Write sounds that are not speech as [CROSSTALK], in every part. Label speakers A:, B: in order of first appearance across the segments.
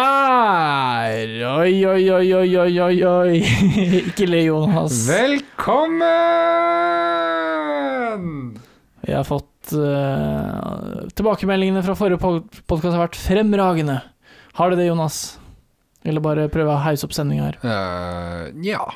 A: Der! Oi, oi, oi, oi, oi, oi, oi. [LAUGHS] Ikke le, Jonas.
B: Velkommen!
A: Vi har fått eh, Tilbakemeldingene fra forrige podkast har vært fremragende. Har det det, Jonas? Eller bare prøve å hause opp sendinga her?
B: Eh, Nja,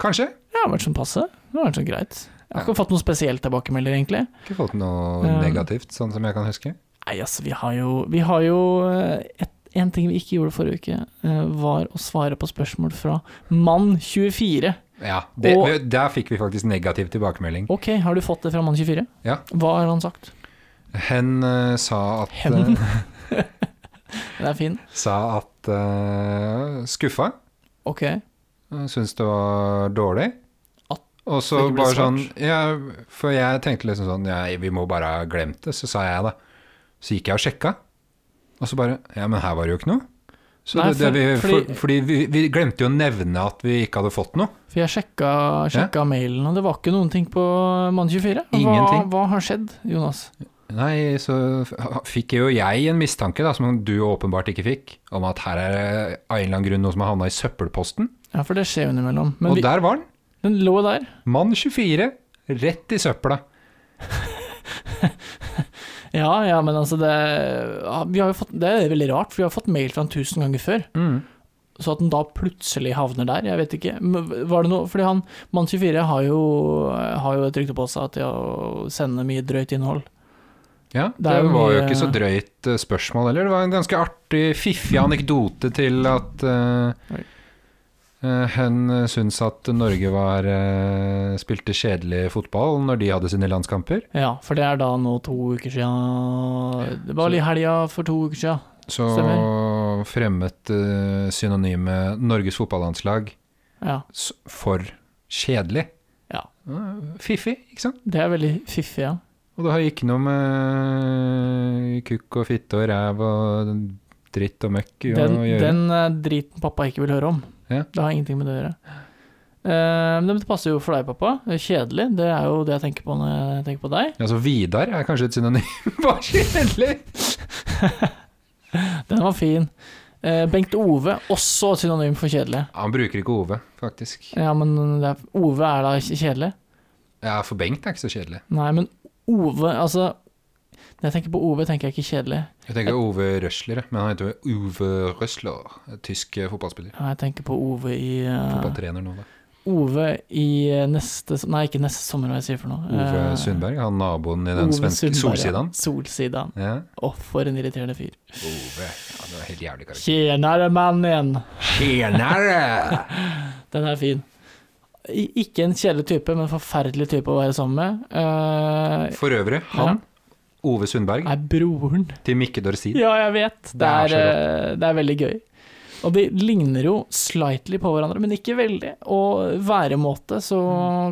B: kanskje.
A: Det har vært sånn passe. Det har vært sånn greit. Jeg har ikke fått noen spesiell tilbakemelder, egentlig.
B: Ikke fått noe
A: Ja.
B: negativt, sånn som jeg kan huske.
A: Nei, altså, vi har jo, vi har jo eh, et, En ting vi ikke gjorde forrige uke, eh, var å svare på spørsmål fra Mann24.
B: Ja, det,
A: Og-
B: Der fikk vi faktisk negativ tilbakemelding.
A: Ok, har du fått det fra Mann24?
B: Ja.
A: Hva har han sagt?
B: Hen eh, sa at,
A: Hen?
B: eh,
A: Den er fin.
B: sa at eh, skuffa.
A: Ok.
B: Eh, Syns det var dårlig.
A: At
B: Og så
A: det ikke ble
B: bare sånn
A: svart.
B: ja, For jeg tenkte liksom sånn ja, Vi må bare ha glemt det, så sa jeg det. Så gikk jeg og sjekka, og så bare Ja, men her var det jo ikke noe. Så
A: Nei,
B: det, det, vi,
A: for-
B: for,
A: fordi-
B: fordi vi, vi glemte jo å nevne at vi ikke hadde fått noe.
A: For jeg sjekka, sjekka mailen, og det var ikke noen ting på Mann24. Hva,
B: Ingenting.
A: hva har skjedd, Jonas?
B: Nei, så f- fikk jo jeg en mistanke, da, som du åpenbart ikke fikk, om at her er det av en eller annen grunn noe som har havna i søppelposten.
A: Ja, for det skjer innimellom. Men
B: Og
A: vi,
B: der var den.
A: den lå der.
B: Mann 24, rett i søpla.
A: Ja, ja, men altså, det, ja, vi har jo fått, det er veldig rart, for vi har fått mail fra han tusen ganger før. Så at den da plutselig havner der, jeg vet ikke. Men Var det noe, fordi han, Mann24 har, jo- har jo et rykte på seg til å sende mye drøyt innhold.
B: Ja,
A: Det er
B: det
A: jo
B: var jo
A: mye-
B: ikke så drøyt eh, spørsmål heller. Det var en ganske artig, fiffig anekdote til at eh,
A: Oi.
B: hun syntes at Norge var eh, spilte kjedelig fotball når de hadde sine landskamper.
A: Ja, for det er da nå to uker siden Det var i helga for to uker siden.
B: Så fremmet eh, synonymet Norges fotballandslag
A: Ja,
B: s- for kjedelig.
A: Ja.
B: Eh, Fiffig, ikke sant?
A: det er veldig fiffig, ja.
B: Og det har ikke noe med kukk og fitte og ræv og dritt og møkk å
A: Den,
B: gjøre.
A: den eh, driten pappa ikke vil høre om.
B: Ja.
A: Det har ingenting med det å gjøre. Eh, men det passer jo for deg, pappa. Det er Kjedelig. Det er jo det jeg tenker på når jeg tenker på deg.
B: Altså, Vidar er kanskje et synonym [LAUGHS] for kjedelig.
A: Den var fin. Eh, Bengt Ove, også et synonym for kjedelig.
B: Han bruker ikke Ove, faktisk.
A: Ja, men det er, Ove er da ikke kjedelig?
B: Ja, For Bengt er ikke så kjedelig.
A: Nei, men Ove Altså, når jeg tenker på Ove, tenker jeg ikke kjedelig.
B: Jeg tenker Ove Røsler, men han heter jo Uwe Røsler. Tysk eh, fotballspiller.
A: Ja, Jeg tenker på Ove i eh,
B: Fotballtrener nå, da.
A: Ove i eh, neste Nei, ikke neste sommer, hva jeg sier for noe.
B: Ove
A: Eh,
B: Sundberg, han naboen i den
A: Ove
B: svenske
A: Sundberg,
B: Solsidan.
A: Ja. Solsidan.
B: Ja.
A: Å, for en irriterende fyr.
B: Ove. Ja, det var helt jævlig karakter.
A: Tjenere, mannen!
B: Tjenere!
A: Den er fin. I- Ikke en kjedelig type, men en forferdelig type å være sammen med. Eh,
B: For øvrig, han, Ove Sundberg,
A: er broren
B: til Mikke Dorsin.
A: Ja, jeg vet. Det
B: Det
A: er,
B: er så
A: eh, det er veldig gøy. Og de ligner jo slightly på hverandre, men ikke veldig. Og væremåte så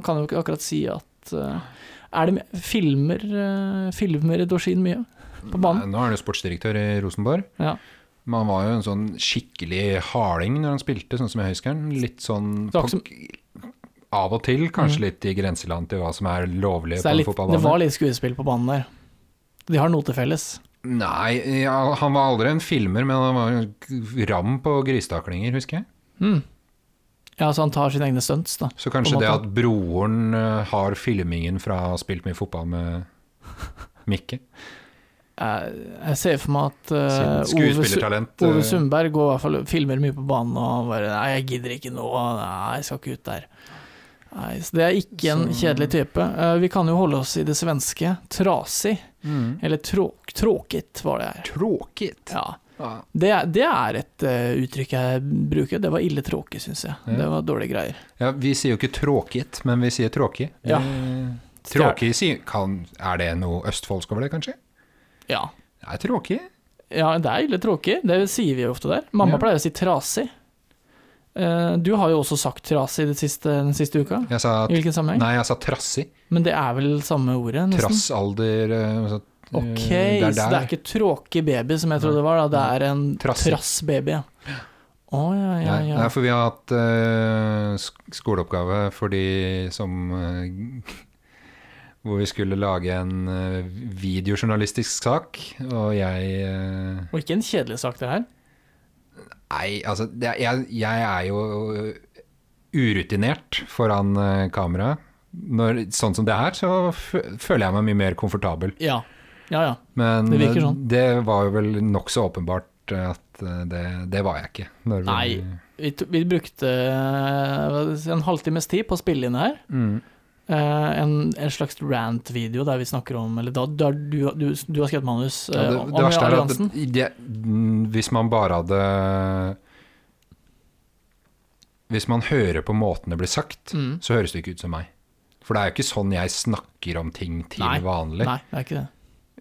A: kan jeg jo ikke akkurat si at eh, Er det me- filmer eh, Filmer Dorsin mye på banen?
B: Nå er han jo sportsdirektør i Rosenborg.
A: Ja.
B: Men han var jo en sånn skikkelig harding når han spilte, sånn som jeg husker han. Litt sånn
A: Det var ikke som-
B: på- Av og til kanskje litt i grenseland til hva som er lovlig
A: Så
B: på
A: det, er
B: en
A: litt, det var
B: fotballbane.
A: litt skuespill på banen der. De har noe til felles.
B: Nei, ja, han var aldri en filmer, men han var jo ram på gristaklinger, husker jeg.
A: Ja, så han tar sine egne stunts, da.
B: Så
A: På en
B: kanskje det
A: måte.
B: at broren eh, har filmingen fra å ha spilt mye fotball med Mikke.
A: Jeg, Eh, jeg ser for meg at [LAUGHS] eh, Ove, Su-
B: Skuespillertalent. eh,
A: Ove Sundberg går i hvert fall filmer mye på banen og bare Nei, jeg gidder ikke nå. Nei, jeg skal ikke ut der. Nei, så det er ikke en
B: Så-
A: kjedelig type. Eh, vi kan jo holde oss i det svenske. Trasig.
B: Mm.
A: Eller tråk, tråkigt, var det her.
B: Tråkig.
A: Ja.
B: Ja.
A: Det, er- det er et eh, uttrykk jeg bruker. Det var ille tråkig, syns jeg.
B: Ja.
A: Det var dårlige greier.
B: Ja, vi sier jo ikke tråkigt, men vi sier tråkig.
A: Ja.
B: Eh, Tråkig sier kan, Er det noe østfoldsk over det, kanskje?
A: Ja.
B: Det er tråkig.
A: ja, det er ille tråkig. Det sier vi jo ofte der. Mamma
B: Ja.
A: pleier å si trasig. Eh, du har jo også sagt trasig det siste, den siste uka.
B: Jeg sa,
A: I hvilken sammenheng?
B: nei, jeg sa trassig.
A: Men det er vel samme ordet? nesten?
B: Trassalder eh, så, eh,
A: Ok,
B: det er
A: så det er ikke tråkig baby som jeg trodde det var, da. det er en
B: Trassig.
A: trassbaby. Å ja, ja,
B: Nei,
A: ja.
B: nei, for vi har hatt eh, sk- skoleoppgave for de som eh, [LAUGHS] Hvor vi skulle lage en eh, videojournalistisk sak, og jeg eh,
A: Og ikke en kjedelig sak, det her.
B: Nei, altså det, er- jeg, jeg er jo urutinert foran eh, kamera. Når, sånn som det er, så fø- føler jeg meg mye mer komfortabel.
A: Ja. Ja, ja.
B: Men
A: Det
B: eh,
A: virker sånn.
B: det var jo vel nokså åpenbart at eh, det, det var jeg ikke. Når vi-
A: Nei. Vi, t- vi brukte eh, hva skal jeg si, en halvtimes tid på å spille inn det her.
B: Mm.
A: Eh, en, en slags rant-video der vi snakker om Eller da, da du, du, du har skrevet manus eh,
B: Ja, det,
A: om
B: det verste er at
A: alliansen.
B: det, det, mm, hvis man bare hadde Hvis man hører på måten det blir sagt,
A: Mm.
B: så høres det ikke ut som meg. For det er jo ikke sånn jeg snakker om ting til
A: Nei.
B: vanlig.
A: Nei, det er ikke det.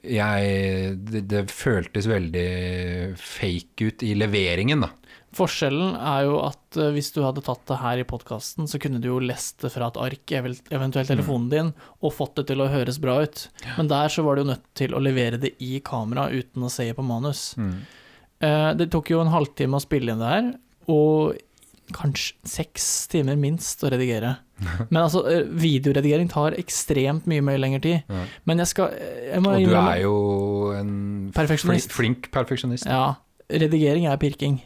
B: Jeg, det, det føltes veldig fake ut i leveringen, da.
A: Forskjellen er jo at eh, hvis du hadde tatt det her i podkasten, så kunne du jo lest det fra et ark, evel- eventuelt
B: Mm.
A: telefonen din, og fått det til å høres bra ut. Men der så var du jo nødt til å levere det i kamera uten å se på manus. Eh, Det tok jo en halvtime å spille inn det her, og kanskje seks timer minst å
B: [LAUGHS]
A: redigere. Men altså, eh, videoredigering tar ekstremt mye mer lengre tid.
B: Ja.
A: Men jeg skal jeg må
B: Og du
A: innrømme-
B: er jo en
A: Perfeksjonist.
B: Flink, flink
A: [LAUGHS]
B: perfeksjonist.
A: Ja, redigering er pirking.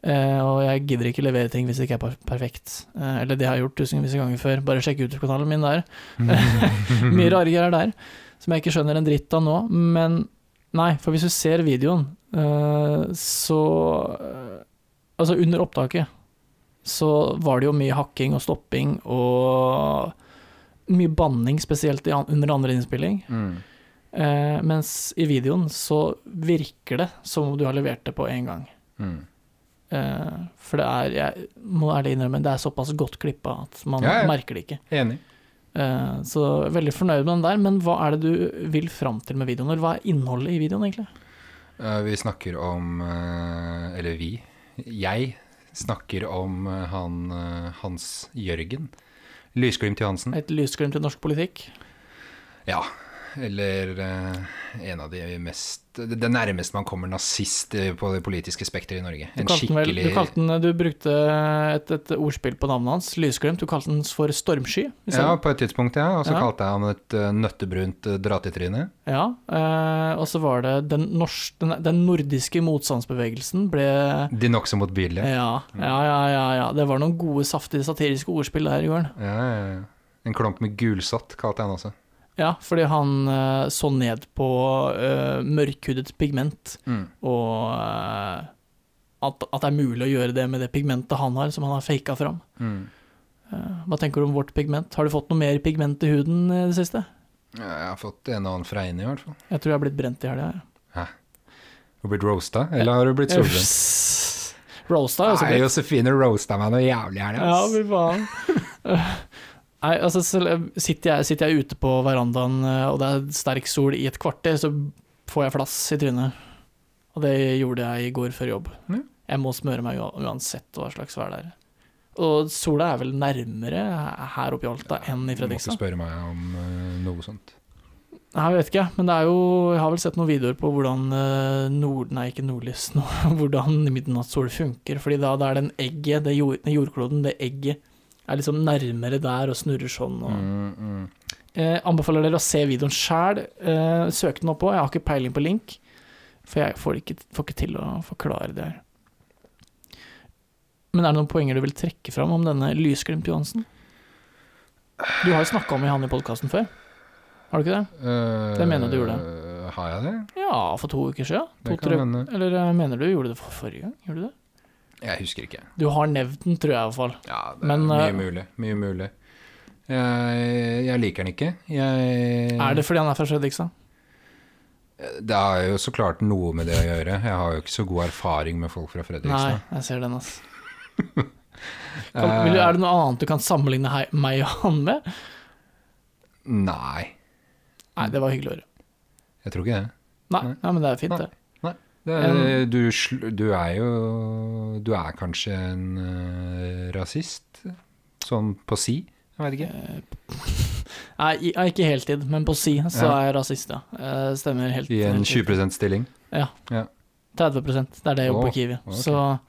A: Eh, og jeg gidder ikke levere ting hvis det ikke er per- perfekt. Eh, eller det har jeg gjort tusenvis av ganger før. Bare sjekk YouTube-kanalen min der.
B: Mhm. Mm.
A: [LAUGHS] Mye rare greier der som jeg ikke skjønner en dritt av nå. Men nei, for hvis du ser videoen, eh, så eh, Altså, under opptaket så var det jo mye hakking og stopping og mye banning, spesielt i an under andre innspilling.
B: Mm.
A: Eh, mens i videoen så virker det som om du har levert det på én gang.
B: Mm.
A: Eh, for det er, jeg må ærlig innrømme, det er såpass godt klippa at man
B: Ja, ja.
A: merker det ikke.
B: Enig.
A: Eh, så veldig fornøyd med den der, men hva er det du vil fram til med videoen? Eller hva er innholdet i videoen, egentlig?
B: Eh, Vi snakker om eh, Eller vi. Jeg snakker om eh, han eh, Hans Jørgen. Lysglimt Johansen.
A: Et lysglimt i norsk politikk?
B: Ja. Eller eh, en av de mest Det det nærmeste man kommer nazist eh, på det politiske spekteret i Norge.
A: Du
B: En
A: kalte, den vel, du,
B: skikkelig
A: kalte den, du brukte et, et ordspill på navnet hans, lysglimt. Du kalte den for stormsky. i
B: Ja,
A: stedet.
B: på et tidspunkt, ja. Og så
A: Ja.
B: kalte jeg han et eh, nøttebrunt eh, dra-til-tryne.
A: ja eh, og så var det den, norsk, den, den nordiske motstandsbevegelsen ble
B: De nokså motbydelige.
A: Ja, ja, ja, ja, ja. Det var noen gode, saftige satiriske ordspill der i går.
B: Ja, ja, ja. En klump med gulsott kalte jeg han også.
A: Ja, fordi han eh, så ned på uh, mørkhudet pigment, og eh, at, at det er mulig å gjøre det med det pigmentet han har, som han har faka fram. Eh, hva tenker du om vårt pigment? Har du fått noe mer pigment i huden i det siste?
B: Ja, Jeg har fått en og annen fra henne, i hvert fall.
A: Jeg tror jeg har blitt brent i helga.
B: Har du blitt roasta, eller har du blitt
A: jeg.
B: solbrent?
A: Roasta er også
B: Nei, Josefine roasta meg noe jævlig her,
A: Ja,
B: ass.
A: fy faen. [LAUGHS] Nei, altså selv- sitter jeg, sitter jeg ute på verandaen eh, og det er sterk sol i et kvarter, så får jeg flass i trynet. Og det gjorde jeg i går før jobb.
B: Ja.
A: Jeg må smøre meg ua- uansett hva slags vær det er. Og sola er vel nærmere her oppe i Alta enn i
B: Du må ikke
A: Fredrikstad?
B: spørre meg om eh, noe sånt.
A: Nei, jeg vet ikke, men det er jo Jeg har vel sett noen videoer på hvordan eh, nord... Nei, ikke nordlys, [LAUGHS] nå, hvordan midnattssol funker. Fordi da, da er den egget, det jord, den jordkloden, det egget, er liksom nærmere der og snurrer sånn og
B: Mm, mm.
A: Eh, anbefaler dere å se videoen sjæl. Eh, søk den opp også, jeg har ikke peiling på link. For jeg får ikke, får ikke til å forklare det her. Men er det noen poenger du vil trekke fram om denne Lysglimt Johansen? Du har jo snakka om han i podkasten før, har du ikke det?
B: Eh,
A: Det mener du gjorde.
B: eh, Har jeg det?
A: Ja, for to uker siden. To,
B: Det kan
A: tre,
B: hende.
A: eller eh, mener du gjorde det for forrige gang? Gjorde du det?
B: Jeg husker ikke.
A: Du har nevnt den, tror jeg i hvert fall.
B: Ja, det er
A: Men, eh,
B: mye mulig. Mye mulig. Jeg, jeg liker den ikke. Jeg,
A: Er det fordi han er fra Fredrikstad?
B: Det har jo så klart noe med det å gjøre. Jeg har jo ikke så god erfaring med folk fra
A: Nei,
B: Fredrikstad.
A: jeg ser den, altså. Kan, vil, du- er
B: Eh,
A: det noe annet du kan sammenligne hei, meg og han med?
B: Nei,
A: Nei, det var hyggelig å høre.
B: jeg tror ikke det.
A: Nei,
B: Nei.
A: nei, men det er fint,
B: Nei.
A: det.
B: det er, du, sl- du er jo Du er kanskje en eh, rasist, sånn på si? Jeg vet ikke.
A: Nei, i- nei, ikke heltid, men på si så
B: Ja.
A: er jeg rasist, ja. Eh, Stemmer helt.
B: I en
A: helt riktig.
B: 20 %-stilling.
A: 30 det er det jeg jobber
B: Å,
A: på Kiwi.
B: ok.
A: Så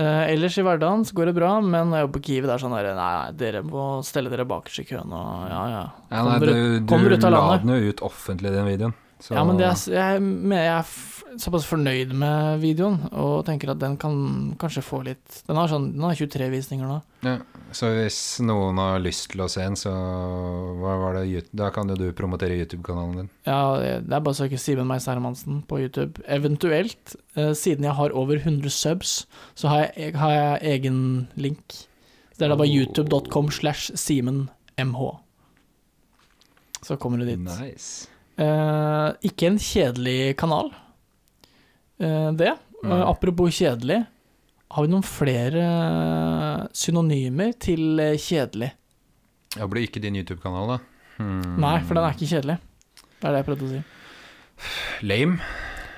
A: eh, ellers i hverdagen så går det bra, men når jeg jobber på Kiwi, det er sånn der Nei, nei, dere må stelle dere bakerst i køen og ja, ja.
B: Ja,
A: Kommer
B: nei,
A: ut-
B: du,
A: kommer
B: du
A: ut av
B: la
A: landet.
B: den jo ut offentlig, den videoen. Så
A: Ja, men det er, s- jeg, men jeg, er f- såpass fornøyd med videoen og tenker at den kan kanskje få litt Den har, sånn, den har 23 visninger nå.
B: Ja. Så hvis noen har lyst til å se den, så hva var det, Yout- da kan jo du promotere YouTube-kanalen din.
A: Ja, det er bare å søke Simen Meis Hermansen på YouTube. Eventuelt, eh, siden jeg har over 100 subs, så har jeg, jeg, har jeg egen link. Så det er da bare
B: Oh.
A: youtube.com slash simenmh. Så kommer du dit.
B: Nice.
A: Eh, ikke en kjedelig kanal, eh, det. Eh,
B: Nei.
A: apropos kjedelig, har vi noen flere eh, synonymer til eh, kjedelig?
B: Ja, blir ikke din YouTube-kanal, da? Hmm.
A: Nei, for den er ikke kjedelig. Det er det jeg prøvde å si.
B: Lame.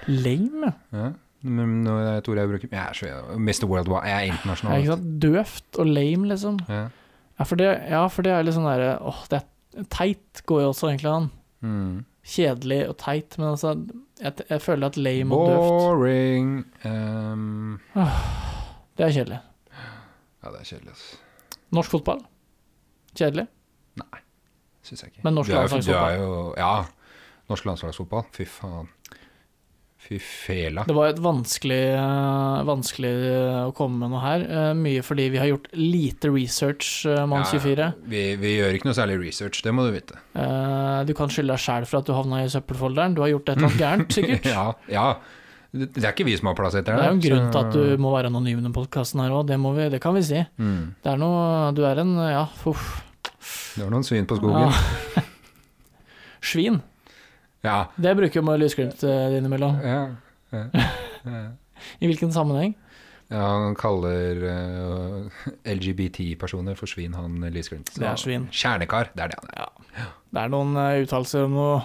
A: Lame,
B: Ja. Men nå er det et ord jeg bruker Jeg er så Mr. Worldwide. Jeg er
A: ja,
B: internasjonal. altså.
A: ikke sant? Døvt og lame, liksom.
B: Ja.
A: Ja, for det, ja, for det er litt sånn derre Åh, det er teit, går jo også egentlig an.
B: Hmm.
A: Kjedelig og teit, men altså Jeg, jeg føler at lame og døvt
B: Boring. Um,
A: Det er kjedelig.
B: ja, det er kjedelig, altså.
A: Norsk fotball? Kjedelig.
B: Syns jeg ikke.
A: Men norsk
B: Du er jo-
A: landslagsfotball.
B: du er jo- Ja. Norsk landslagsfotball. Fy faen. Fy fela.
A: Det var et vanskelig, eh, vanskelig eh, å komme med noe her. eh, Mye fordi vi har gjort lite research, eh, mann
B: Ja,
A: 24.
B: vi, vi gjør ikke noe særlig research, det må du vite.
A: Eh, Du kan skylde deg sjæl for at du havna i søppelfolderen. Du har gjort et eller annet [LAUGHS] gærent, sikkert.
B: [LAUGHS] ja, ja. Det det er ikke vi som har plassert
A: Det
B: deg
A: er jo en grunn til at du
B: så-
A: må være anonym i denne podkasten her òg, det, må vi- det kan vi si.
B: Mm.
A: Det er noe Du er en, ja, uff.
B: Du har noen svin på skogen.
A: Ja. [LAUGHS] Svin.
B: Ja.
A: Det bruker jo med lysglimt eh, innimellom.
B: ja. ja. ja.
A: I hvilken sammenheng?
B: Ja, han kaller eh, LGBT-personer for svin, han Lysglimt.
A: Det er svin.
B: Kjernekar, det er det han er.
A: Det er noen eh, uttalelser om noe,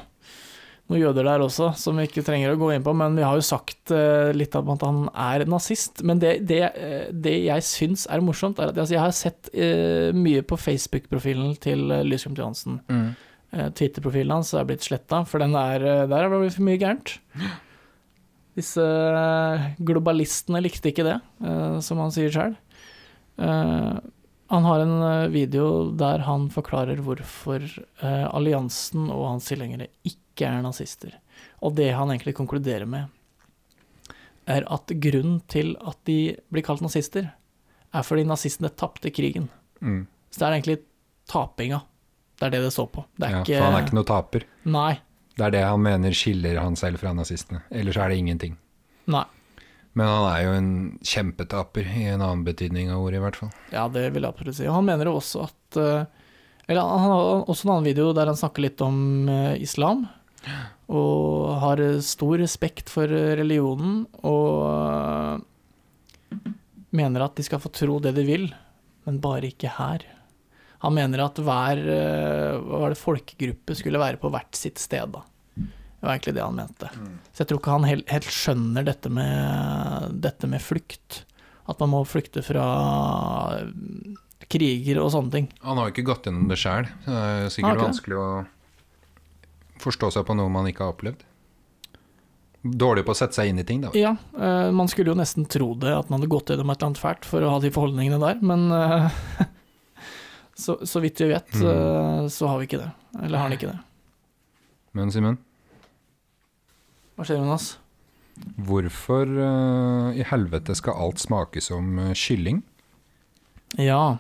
A: noen jøder der også, som vi ikke trenger å gå inn på, men vi har jo sagt eh, litt om at han er nazist. Men det, det, eh, det jeg syns er morsomt, er at altså, jeg har sett eh, mye på Facebook-profilen til uh, Lysglimt Johansen.
B: Mm.
A: Eh, Twitter-profilen hans er blitt sletta, for den er, eh, der er det blitt for mye
B: [GASPS]
A: gærent. Disse eh, globalistene likte ikke det, eh, som han sier sjøl. Han har en eh, video der han forklarer hvorfor eh, alliansen og hans tilhengere ikke er nazister. Og det han egentlig konkluderer med, er at grunnen til at de blir kalt nazister, er fordi nazistene tapte krigen.
B: Mm.
A: Så det er egentlig tapinga. Det er det det står på. Det er
B: Ja,
A: ikke,
B: For han er ikke noe taper.
A: Nei.
B: Det er det han mener skiller han selv fra nazistene. Ellers er det ingenting.
A: Nei.
B: Men han er jo en kjempetaper, i en annen betydning av ordet i hvert fall.
A: Ja, det vil jeg absolutt si. Og han mener jo også at eh, Eller han han har også en annen video der han snakker litt om eh, islam. Og har eh, stor respekt for eh, religionen og eh, mener at de skal få tro det de vil, men bare ikke her. Han mener at hver eh, hva var det, folkegruppe skulle være på hvert sitt sted, da. Det var egentlig det han mente. Så jeg tror ikke han hel- helt skjønner dette med, dette med flukt. At man må flykte fra mm, kriger og sånne ting.
B: Han har jo ikke gått gjennom det sjøl. Det er jo
A: Har
B: sikkert
A: ikke det?
B: vanskelig å forstå seg på noe man ikke har opplevd. Dårlig på å sette seg inn i ting, da.
A: Ja, eh, man skulle jo nesten tro det, at man hadde gått gjennom et eller annet fælt for å ha de forholdningene der, men eh, [LAUGHS] så, så vidt vi
B: Mm.
A: vet, eh, så har vi ikke det. Eller har han ikke det.
B: Men Simen,
A: Hva skjer, Jonas?
B: hvorfor eh, i helvete skal alt smake som eh, kylling?
A: Ja,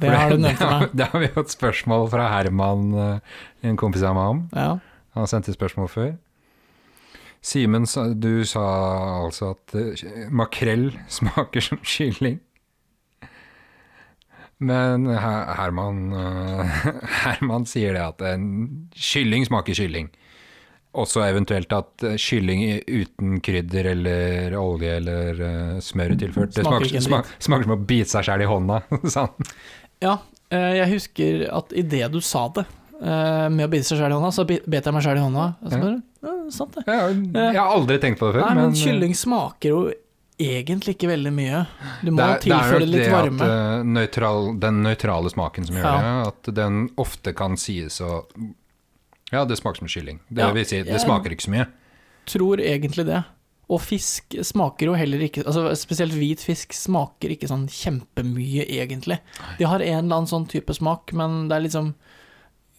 A: det
B: For
A: har du nevnt
B: [LAUGHS] det,
A: til
B: har-
A: meg.
B: det har vi fått spørsmål fra Herman, eh, en kompis av meg, om.
A: Ja.
B: Han sendte spørsmål før. Simen, sa- du sa altså at eh, makrell [LAUGHS] smaker som kylling. Men Her- Herman, eh, [LAUGHS] Herman sier det at en kylling smaker kylling. Også eventuelt at eh, kylling i- uten krydder eller olje eller eh, smør tilført, det
A: Smaker
B: smaker,
A: ikke en
B: smaker, smaker som å bite seg sjæl i hånda. [LAUGHS] sa han.
A: ja, eh, jeg husker at idet du sa det, eh, med å bite seg sjæl i hånda, så bi- bet jeg meg sjæl i hånda. Og Så
B: Ja.
A: bare, ja, sant det.
B: Ja, jeg har aldri tenkt på det før.
A: Nei, men
B: eh,
A: kylling smaker jo egentlig ikke veldig mye. Du må
B: det er-
A: jo tilføre
B: det
A: litt
B: er nok det
A: varme.
B: at eh, nøytral, den nøytrale smaken som gjør
A: Ja.
B: det, at den ofte kan sies å Ja, det smaker som kylling. Det
A: Ja.
B: vil si, det
A: Ja.
B: smaker ikke så mye.
A: Tror egentlig det. Og fisk smaker jo heller ikke altså Spesielt hvit fisk smaker ikke sånn kjempemye, egentlig. De har en eller annen sånn type smak, men det er liksom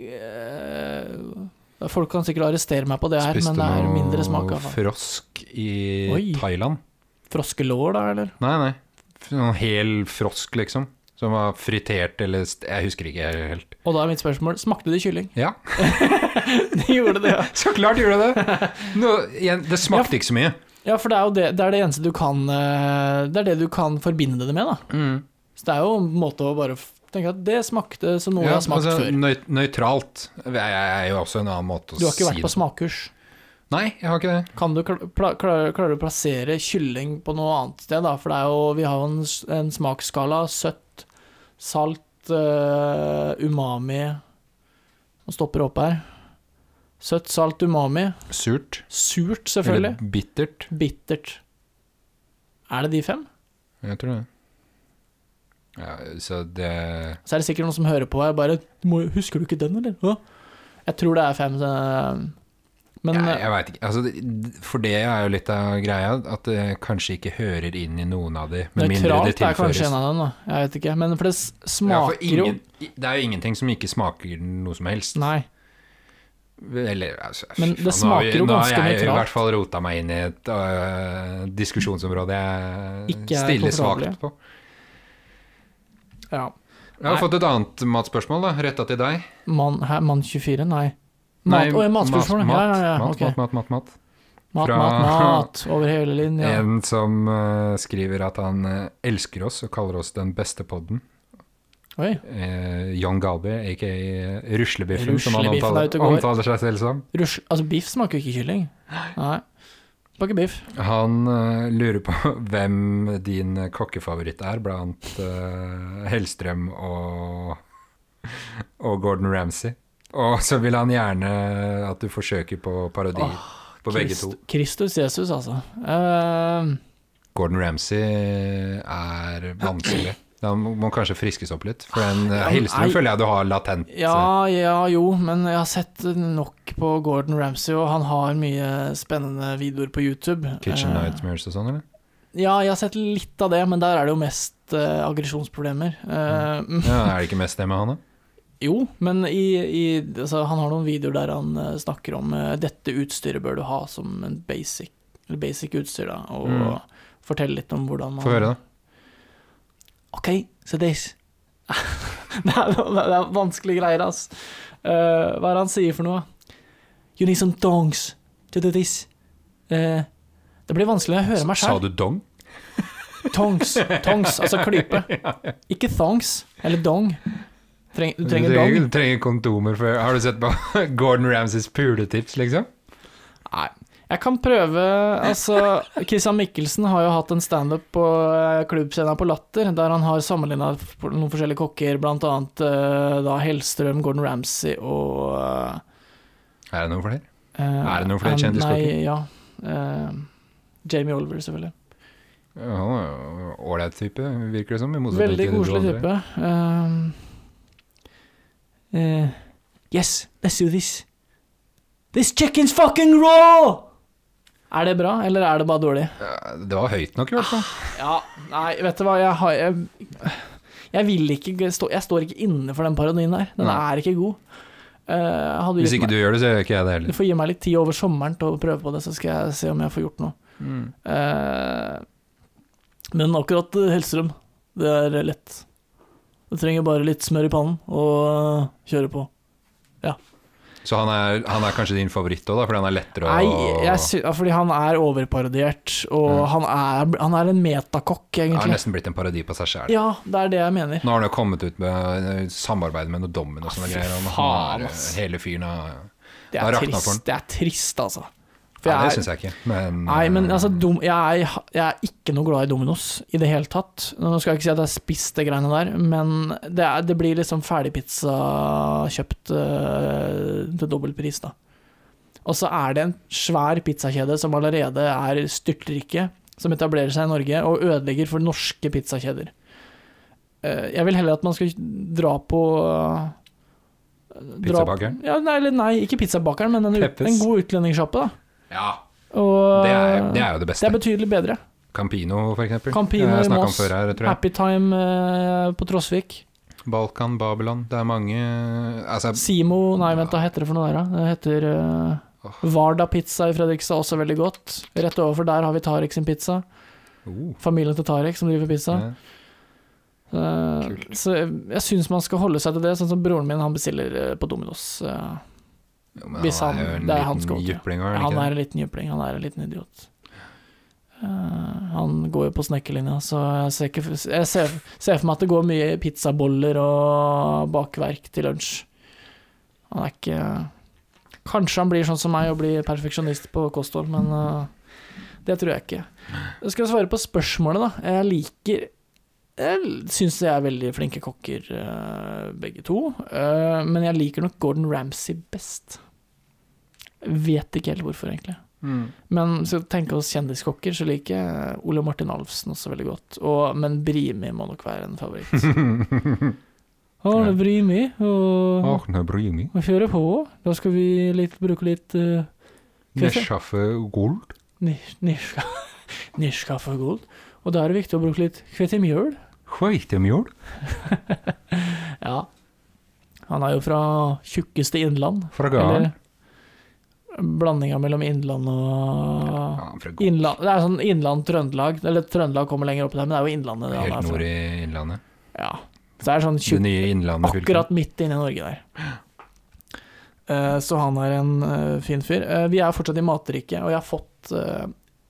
A: eh, Folk kan sikkert arrestere meg på det her,
B: Spiste
A: men det er mindre smak
B: noe
A: av
B: frosk i
A: Oi.
B: Thailand.
A: froskelår, da, eller?
B: Nei, nei. Noen hel frosk, liksom. Som var fritert eller st Jeg husker ikke helt. [LAUGHS]
A: Og da er mitt spørsmål smakte det kylling?
B: Ja,
A: De gjorde [LAUGHS] det, ja.
B: så klart gjorde
A: [LAUGHS]
B: det det! Nå, igjen, det smakte ikke så mye.
A: Ja, for det er jo det, det, er det eneste du kan eh, Det er det du kan forbinde det med, da. Så det er jo en måte å bare f- tenke at det smakte som noe jeg har smakt
B: altså,
A: før.
B: nøy- Nøytralt er jo også en annen måte å si
A: Du har ikke vært på
B: det.
A: smakkurs.
B: Nei, jeg har ikke det.
A: Kan du kla- pla- klare, klarer du å plassere kylling på noe annet sted, da? For det er jo, vi har jo en, s- en smaksskala. Søtt, salt, eh, umami Nå stopper det opp her. Søtt, salt, umami.
B: Surt.
A: Surt,
B: Eller
A: selvfølgelig.
B: bittert.
A: Bittert. Er det de fem?
B: Jeg tror det. Ja, så det
A: Så er det sikkert noen som hører på her og bare «Du må- Husker du ikke den, eller? Hå? Jeg tror det er fem. eh, Men
B: jeg, jeg veit ikke. Altså, det- for det er jo litt av greia, at det kanskje ikke hører inn i noen av de, med mindre det
A: nøytralt er kanskje en
B: tilføres.
A: av dem, da. Jeg vet ikke. Men for det s-
B: Ja, for
A: smaker jo
B: ingen, det er jo ingenting som ikke smaker noe som helst.
A: Nei.
B: Eller, altså, fy
A: Men det
B: faen, nå har vi-
A: smaker jo ganske
B: Nå har jeg i
A: nøytralt.
B: hvert fall rota meg inn i et øh, diskusjonsområde jeg
A: Ikke er
B: stiller
A: komfortabel i.
B: svakt på.
A: Ja.
B: Jeg har
A: Nei.
B: fått et annet matspørsmål, da, retta til deg.
A: Mann man 24? Nei. Mat,
B: Nei,
A: Nei, oh, ja, matspørsmål.
B: Mat,
A: ja, ja, ja.
B: mat,
A: ok.
B: mat, mat, mat, mat.
A: Mat,
B: fra-
A: mat, mat. Over hele linja.
B: En som eh, skriver at han eh, elsker oss og kaller oss den beste podden.
A: Oi.
B: Eh, John Galbi, aka eh, Ruslebiffen, som han
A: Ruslebiffen er
B: omtaler,
A: ute og går.
B: omtaler seg selv som.
A: Rush, altså, biff smaker jo ikke kylling. Nei. Smaker biff.
B: Han eh, lurer på [LAUGHS] hvem din kokkefavoritt er blant eh, Hellstrøm og, og Gordon Ramsay. Og så vil han gjerne at du forsøker på parodi på begge to.
A: Krist- Kristus Jesus, altså. Eh,
B: Gordon Ramsay eh, er vanskelig. Han må må kanskje friskes opp litt. For en
A: Ah, Ja,
B: ja,
A: men ei-
B: føler jeg du har latent. eh,
A: Ja, ja, jo, men jeg har sett nok på Gordon Ramsay, og han har mye spennende videoer på YouTube.
B: Kitchen
A: Eh,
B: Nightmares og sånn, eller?
A: Ja, jeg har sett litt av det, men der er det jo mest eh, aggresjonsproblemer. Eh, mm,
B: Ja, er det ikke mest det med han, da?
A: jo, men i, i, altså, han har noen videoer der han eh, snakker om eh, dette utstyret bør du ha som en basic, eller basic utstyr, da, og
B: Mm.
A: fortelle litt om hvordan man
B: Få høre, da.
A: OK, so this [LAUGHS] det, er, det er vanskelige greier, ass. Eh, hva er det han sier for noe? You need some dongs to do this. Eh, det blir vanskelig å høre meg
B: Sa
A: sjøl.
B: du dong?
A: Tongs, tongs, altså
B: [LAUGHS]
A: klype. Ikke thongs, eller dong. Treng, du trenger
B: du
A: dong.
B: trenger, du trenger kondomer for Har du sett på [LAUGHS] Gordon Ramsays puletips, liksom?
A: Nei. Jeg kan prøve Altså, Christian Mikkelsen har jo hatt en standup på eh, klubbscenen på Latter, der han har sammenligna noen forskjellige kokker, blant annet eh, da Hellstrøm, Gordon Ramsay og eh,
B: Er det noe flere?
A: Eh,
B: Er det noen flere
A: eh,
B: kjendiskokker?
A: Nei, ja. Eh, Jamie Oliver, selvfølgelig.
B: Ja, han er jo Ålreit type, virker det som. i motsetning
A: Veldig
B: til du
A: koselig
B: andre.
A: type. Eh, eh, yes, let's do this. This chicken's fucking raw! Er det bra, eller er det bare dårlig?
B: Ja, Det var høyt nok, i hvert fall.
A: Ja, nei, vet du hva, jeg har Jeg, jeg vil ikke stå Jeg står ikke inne for den parodien der. Den
B: Nei.
A: er ikke god. Eh, hadde
B: Hvis
A: gitt
B: ikke
A: meg-
B: du gjør det, så gjør ikke jeg det
A: Du
B: heller.
A: får gi meg litt tid over sommeren til å prøve på det, så skal jeg se om jeg får gjort noe.
B: Mm.
A: Eh, Men akkurat eh, Hellstrøm, det er lett. Du trenger bare litt smør i pannen og eh, kjøre på.
B: Så han er, han er kanskje din favoritt òg, da? Fordi han er lettere å
A: Nei, jeg sy ja, fordi han er overparodiert, og
B: Mm.
A: han, er, han er en metakokk,
B: Han er
A: egentlig.
B: nesten blitt en parodi på seg sjæl.
A: Ja, det er det jeg mener.
B: Nå har han jo kommet ut med eh, samarbeid med noe dommen og
A: fy
B: sånne greier. Og
A: faen,
B: han har, eh,
A: ass.
B: hele fyren har
A: Det
B: Han
A: er
B: rakna for den.
A: trist, det er trist altså. For
B: ja, Det
A: jeg er-
B: syns jeg ikke, men
A: Nei, men
B: eh,
A: altså, dom, jeg, er, jeg er ikke noe glad i Dominos i det hele tatt. Nå skal jeg ikke si at jeg har spist det greiene der, men det, er, det blir liksom ferdigpizza kjøpt øh, til dobbel pris, da. Og så er det en svær pizzakjede som allerede er styrtrike, som etablerer seg i Norge og ødelegger for norske pizzakjeder. Eh, Jeg vil heller at man skal dra på eh, dra-
B: Pizzabakeren?
A: Ja, nei, eller nei, ikke pizzabakeren, men en, ut-
B: Peppes.
A: en god utlendingssjappe, da.
B: Ja,
A: Og,
B: det er, det er jo det
A: det
B: beste.
A: er betydelig bedre.
B: Campino, for eksempel.
A: Campino
B: jeg
A: i
B: snakket om
A: Moss,
B: før her, tror jeg.
A: Happy time eh, på Trosvik.
B: Balkan, Babylon, det er mange altså,
A: Simo Nei, vent, hva heter det for noe der, da? Det heter eh, Varda Pizza i Fredrikstad, også veldig godt. Rett overfor der har vi Tarek sin pizza.
B: oh,
A: Familien til Tarek som driver pizza.
B: ja.
A: Eh,
B: Kult.
A: så jeg, jeg syns man skal holde seg til det, sånn som broren min, han bestiller eh, på Dominos. eh.
B: Jo, men
A: Hvis
B: han
A: han-
B: er jo en
A: det er hans
B: liten
A: go-to.
B: jypling, var
A: han
B: han
A: er
B: ikke det?
A: en liten jypling, han er en liten idiot. Eh, han går jo på snekkerlinja, så jeg ser, ikke, jeg ser, ser for meg at det går mye pizzaboller og bakverk til lunsj. Han er ikke Kanskje han blir sånn som meg og blir perfeksjonist på kosthold, men eh, det tror jeg ikke. Jeg skal svare på spørsmålet, da. Jeg liker Jeg syns de er veldig flinke kokker, eh, begge to. Eh, men jeg liker nok Gordon Ramsay best. Vet ikke helt hvorfor, egentlig.
B: Mm.
A: Men så tenker oss kjendiskokker, så liker jeg Ole Martin Alfsen også veldig godt. Og, men Brimi må nok være en
B: [LAUGHS]
A: favoritt. Mm. Arne Brimi, og,
B: Åh, nå bryr meg.
A: og kjøre på. Da skal vi litt, bruke litt eh, Skal vi se.
B: Neskaffe gold.
A: nis- [LAUGHS] niska- niskaffe gold. Og da er det viktig å bruke litt kvetemjøl.
B: Hveitemjøl.
A: Ja. Han er jo fra tjukkeste innland.
B: Fra gården.
A: Eller blandinga mellom innland og
B: Ja, fra gården.
A: Innland, det er sånn Innland-Trøndelag. Eller Trøndelag kommer lenger opp der, men det er jo Innlandet. altså. han er
B: Helt
A: fra.
B: nord i Innlandet.
A: Ja. Så det er sånn
B: Det
A: tjukk
B: nye Innlandet fylket.
A: akkurat midt inne i Norge der. Eh, så han er en eh, fin fyr. Eh, vi er fortsatt i matriket, og jeg har fått eh,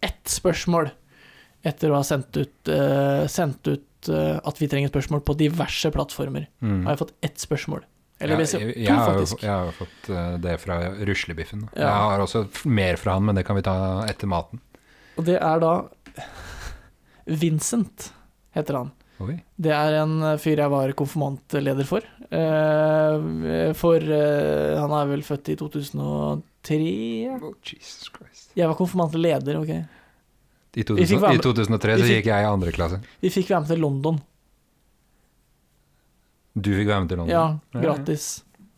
A: ett spørsmål etter å ha sendt ut, eh, sendt ut eh, at vi trenger spørsmål på diverse plattformer.
B: Mm.
A: Har jeg fått ett spørsmål?
B: Ja,
A: Eller vil jeg si
B: jeg,
A: to,
B: jeg, har jo,
A: faktisk.
B: jeg har jo fått eh, det fra ruslebiffen. da.
A: Ja.
B: Jeg har også f- mer fra han, men det kan vi ta etter maten.
A: Og det er da Vincent, heter han.
B: Oi.
A: Det er en fyr jeg var konfirmantleder for. Eh, For eh, han er vel født i 2003?
B: Oh, Jesus Christ.
A: Jeg var konfirmantleder, ok.
B: I,
A: Vi fikk
B: 2000,
A: være
B: I
A: med-
B: 2003
A: vi
B: så
A: fikk-
B: gikk jeg i andre klasse.
A: Vi fikk være med til London.
B: Du fikk være med til London.
A: Ja, gratis.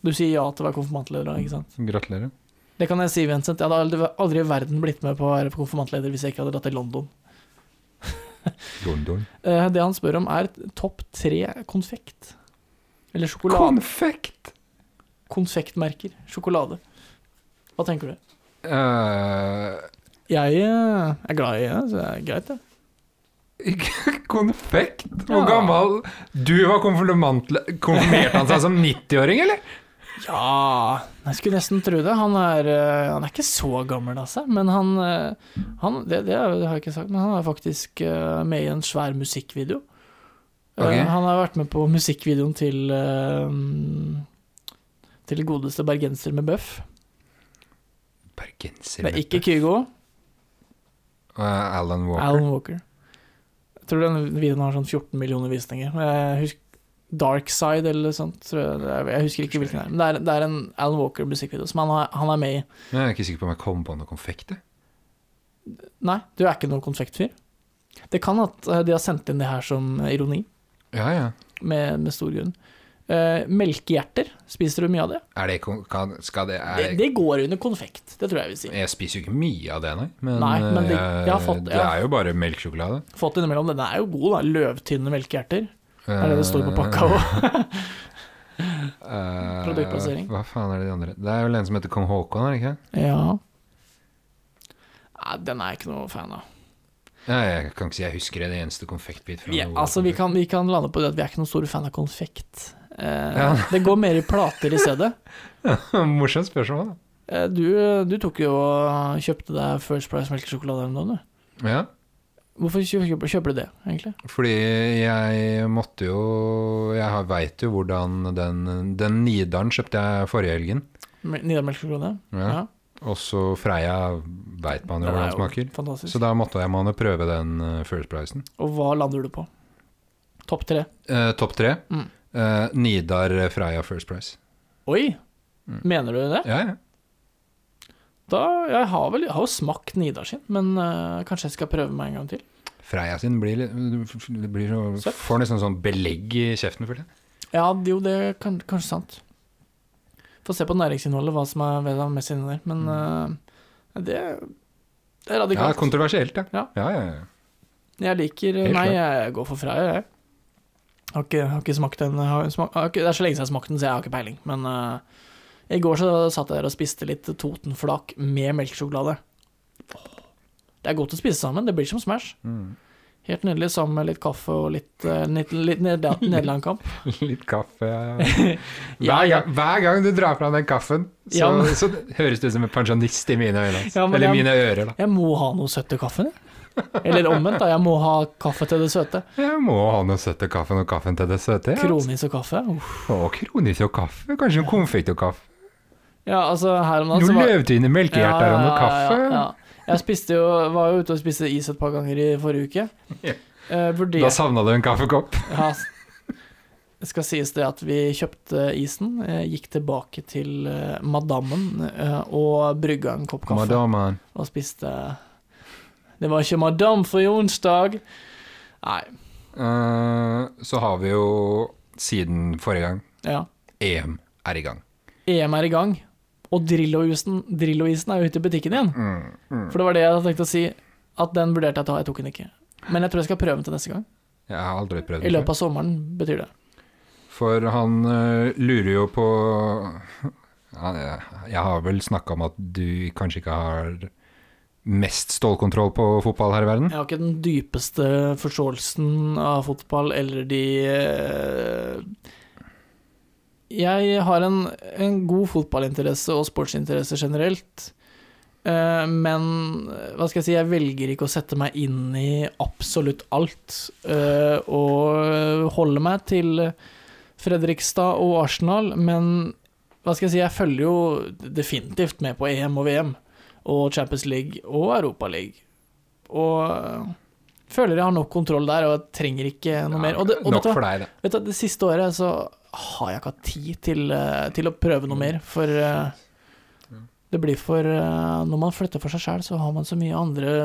A: Du sier ja til å være konfirmantleder, da, ikke sant?
B: Gratulerer.
A: Det kan jeg si, Vincent. Jeg hadde aldri, aldri i verden blitt med på å være konfirmantleder hvis jeg ikke hadde dratt til London.
B: London.
A: Eh, Det han spør om, er topp tre konfekt. Eller sjokolade.
B: Konfekt!
A: Konfektmerker. Sjokolade. Hva tenker du?
B: Eh,
A: Jeg eh, er glad i det, så det er greit, det.
B: konfekt? Hvor
A: Ja.
B: gammel Du var konfirmantle- konfirmerte han seg som 90-åring, eller?
A: Ja Jeg skulle nesten tro det. Han er, eh, han er ikke så gammel av seg, men han, eh, han det, det har jeg ikke sagt, men han er faktisk eh, med i en svær musikkvideo. Eh,
B: Ok.
A: Han har vært med på musikkvideoen til eh, Til godeste bergenser med bøff.
B: Bergenser
A: Det er ikke Kygo.
B: Eh, Alan Walker.
A: Alan Walker. Jeg tror den videoen har sånn 14 millioner visninger. Men Jeg husker Dark Side eller noe sånt. Tror jeg, det er, jeg husker ikke hvilken det er. Men det er, det er en Alan Walker-musikkvideo som han, har- han er med i.
B: Jeg er ikke sikker på om jeg kom på noe konfekt. jeg.
A: Nei, du er ikke noen konfektfyr. Det kan at eh, de har sendt inn det her som eh, ironi,
B: Ja, ja.
A: med, med stor grunn. Eh, melkehjerter, spiser du mye av det?
B: Er det kon- kan, Skal det, er,
A: Det, det går under konfekt, det tror jeg jeg vil si.
B: Jeg spiser jo ikke mye av det, nei. Men,
A: Nei, men det-
B: eh,
A: jeg har fått-
B: det
A: jeg har-
B: er jo bare melkesjokolade.
A: Fått innimellom, den er jo god, da. Løvtynne melkehjerter. Er det det står på pakka òg?
B: [LAUGHS] Eh,
A: Produktplassering.
B: Hva faen er det de andre Det er vel en som heter kong Haakon, er det ikke?
A: ja. Nei, den er jeg ikke noe fan av.
B: Nei, jeg kan ikke si jeg husker en eneste konfektbit fra
A: Ja,
B: noe.
A: altså, vi kan, vi kan lande på det at vi er ikke noen store fan av konfekt. Eh,
B: Ja.
A: [LAUGHS] Det går mer i plater i stedet.
B: [LAUGHS] Morsomt spørsmål, da.
A: Eh, du, du tok jo og kjøpte deg First Price melkesjokolade eller noe, du.
B: Ja,
A: Hvorfor kjøper, kjøper du det, egentlig?
B: fordi jeg måtte jo Jeg veit jo hvordan den Den Nidaren kjøpte jeg forrige helgen.
A: Mel- Nidar melkesjokolade?
B: Ja. Og så Freia veit man jo
A: Den
B: hvordan
A: er
B: den
A: jo
B: smaker.
A: Fantastisk.
B: Så da måtte jeg man prøve den eh, First Pricen.
A: Og hva lander du på? Topp tre?
B: Eh, Topp tre.
A: Mm.
B: Eh, Nidar Freia First Price.
A: Oi!
B: Mm.
A: Mener du det?
B: Ja, ja.
A: Da, jeg har vel jeg har jo smakt Nidar sin, men eh, kanskje jeg skal prøve meg en gang til.
B: Freia sin blir, litt- det blir så,
A: Søtt.
B: får nesten sånn belegg i kjeften, føler jeg.
A: Ja, det- jo, det er kan, kanskje sant. Få se på næringsinnholdet, hva som er ved det mest inni der. Men eh, det, det er
B: Mm. Ja,
A: radikalt.
B: kontroversielt, ja.
A: Ja.
B: ja, ja, ja.
A: jeg liker
B: Helt
A: Nei,
B: klart.
A: jeg går for Freia, jeg. Har ikke, har ikke smakt den har smak, har ikke, Det er så lenge siden jeg har smakt den, så jeg har ikke peiling. Men eh, i går så satt jeg der og spiste litt Totenflak med melkesjokolade. Det er godt å spise sammen. Det blir som Smash. [LAUGHS]
B: Mm.
A: Helt nydelig sammen med litt kaffe og litt, eh, litt, litt neder- Nederland-kamp.
B: Litt kaffe [LAUGHS]
A: Ja,
B: ja. hver,
A: ja.
B: gang, hver gang du drar fram den kaffen, så,
A: Ja, men-
B: så høres det ut som en pensjonist i mine øyne. altså.
A: Ja, men
B: Eller
A: jeg-
B: mine ører, da.
A: Jeg må ha noe søtt til kaffen. jeg. Eller omvendt, da. Jeg må ha kaffe til det søte.
B: Jeg må ha noe søtt til kaffen og kaffen til det søte. Ja.
A: Kronis og kaffe. Uff.
B: Og kronis og kaffe. Kanskje noe konfekt og kaffe.
A: Ja, altså her om dagen så
B: Noen
A: var-
B: løvtynne melkehjerter og noe kaffe.
A: Ja, ja. Jeg spiste jo, var jo ute og spiste is et par ganger i forrige uke.
B: Ja.
A: Eh,
B: Da
A: vurderte
B: savna du en kaffekopp.
A: ja, s- Det skal sies det at vi kjøpte isen, eh, gikk tilbake til eh, madammen eh, og brygga en kopp kaffe
B: Madammen.
A: og spiste Det var ikke madam for onsdag! Nei.
B: Eh, så har vi jo, siden forrige gang,
A: Ja.
B: EM er i gang.
A: EM er i gang, og Drillo-isen Drillo er jo ute i butikken igjen.
B: Mm, mm.
A: For det var det jeg hadde tenkt å si, at den vurderte jeg å ta, jeg tok den ikke. Men jeg tror jeg skal prøve den til neste gang.
B: Jeg har aldri prøvd
A: I
B: det.
A: løpet av sommeren, betyr det.
B: For han eh, lurer jo på Han, eh, Jeg har vel snakka om at du kanskje ikke har mest stålkontroll på fotball her i verden.
A: Jeg har ikke den dypeste forståelsen av fotball eller de eh, Jeg har en, en god fotballinteresse og sportsinteresse generelt. eh, Men hva skal jeg si, jeg velger ikke å sette meg inn i absolutt alt. eh, Og holder meg til Fredrikstad og Arsenal, men hva skal jeg si, jeg følger jo definitivt med på EM og VM. Og Champions League og Europa League og eh, føler jeg har nok kontroll der, og jeg trenger ikke noe mer. Og det, og
B: Nok
A: vet du hva?
B: for deg, det.
A: Vet du, det siste året så har jeg ikke hatt tid til, eh, til å prøve
B: Mm.
A: noe mer, for eh, det blir for eh, Når man flytter for seg sjøl, så har man så mye andre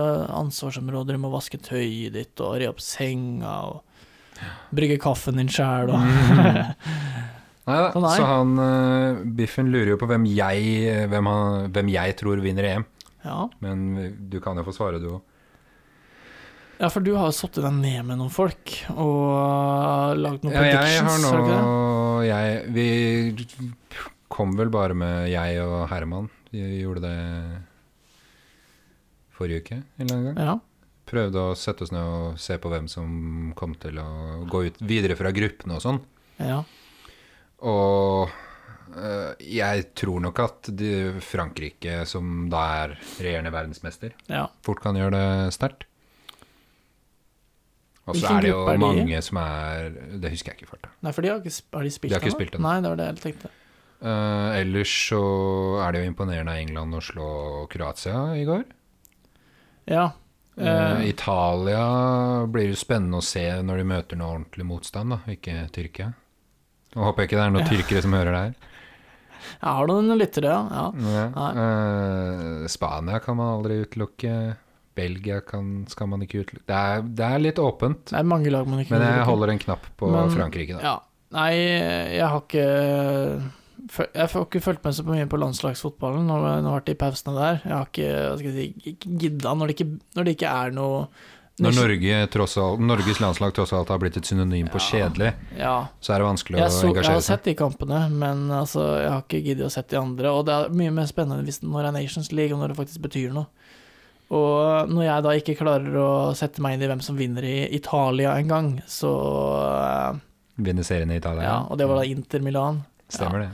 A: ansvarsområder. Du må vaske tøyet ditt og re opp senga og brygge kaffen din sjæl og
B: [LAUGHS]
A: [LAUGHS]
B: Neida,
A: Å, nei.
B: Så han eh, Biffen lurer jo på hvem jeg, eh, hvem, han, hvem jeg tror vinner EM.
A: ja.
B: Men du kan jo få svare, du òg.
A: ja, for du har jo satt deg ned med noen folk og lagd noen
B: Ja, jeg har
A: predictions,
B: nå
A: har du ikke det?
B: jeg, Vi kom vel bare med jeg og Herman. Vi gjorde det forrige uke en eller annen gang.
A: Ja.
B: prøvde å sette oss ned og se på hvem som kom til å gå ut videre fra gruppene og sånn.
A: ja.
B: Og øh, jeg tror nok at de, Frankrike, som da er regjerende verdensmester,
A: ja.
B: fort kan gjøre det sterkt. Og så
A: Hvilken
B: er det jo
A: gruppe er de i?
B: mange som er Det husker jeg ikke i farta.
A: Nei, for de har ikke, sp- har de spilt
B: De har ikke
A: ennå?
B: spilt ennå.
A: Nei, det var det jeg tenkte.
B: Eh, ellers så er det jo imponerende av England å slå Kroatia i går.
A: Ja.
B: Eh,
A: Eh,
B: Italia blir jo spennende å se når de møter noe ordentlig motstand, da, ikke Tyrkia. Nå håper jeg ikke det er noen tyrkere som hører det
A: [LAUGHS]
B: her.
A: Jeg har noen lyttere, ja. ja.
B: Eh, Spania kan man aldri utelukke. Belgia kan, skal man ikke utelukke. Det er, det er litt åpent,
A: Det er mange lag man ikke
B: men jeg
A: bruker.
B: holder en knapp på
A: Men-
B: Frankrike, da.
A: Ja. Nei, jeg har ikke føl- Jeg har ikke fulgt med så mye på landslagsfotballen når jeg har vært i pausene der. Jeg har ikke, hva skal jeg si, ikke gidda når det ikke, når det ikke er noe
B: Når Norge, tross alt, Norges landslag tross alt har blitt et synonym på
A: Ja.
B: kjedelig,
A: Ja.
B: så er det vanskelig
A: Jeg,
B: å
A: så, jeg har
B: engasjere seg.
A: sett de kampene, men altså, jeg har ikke giddet å sett de andre. Og det er mye mer spennende hvis når det er Nations League, og når det faktisk betyr noe. Og når jeg da ikke klarer å sette meg inn i hvem som vinner i Italia en gang, så
B: Vinne serien i Italia.
A: Ja, og det
B: Mm.
A: var da Inter Milan.
B: Stemmer det.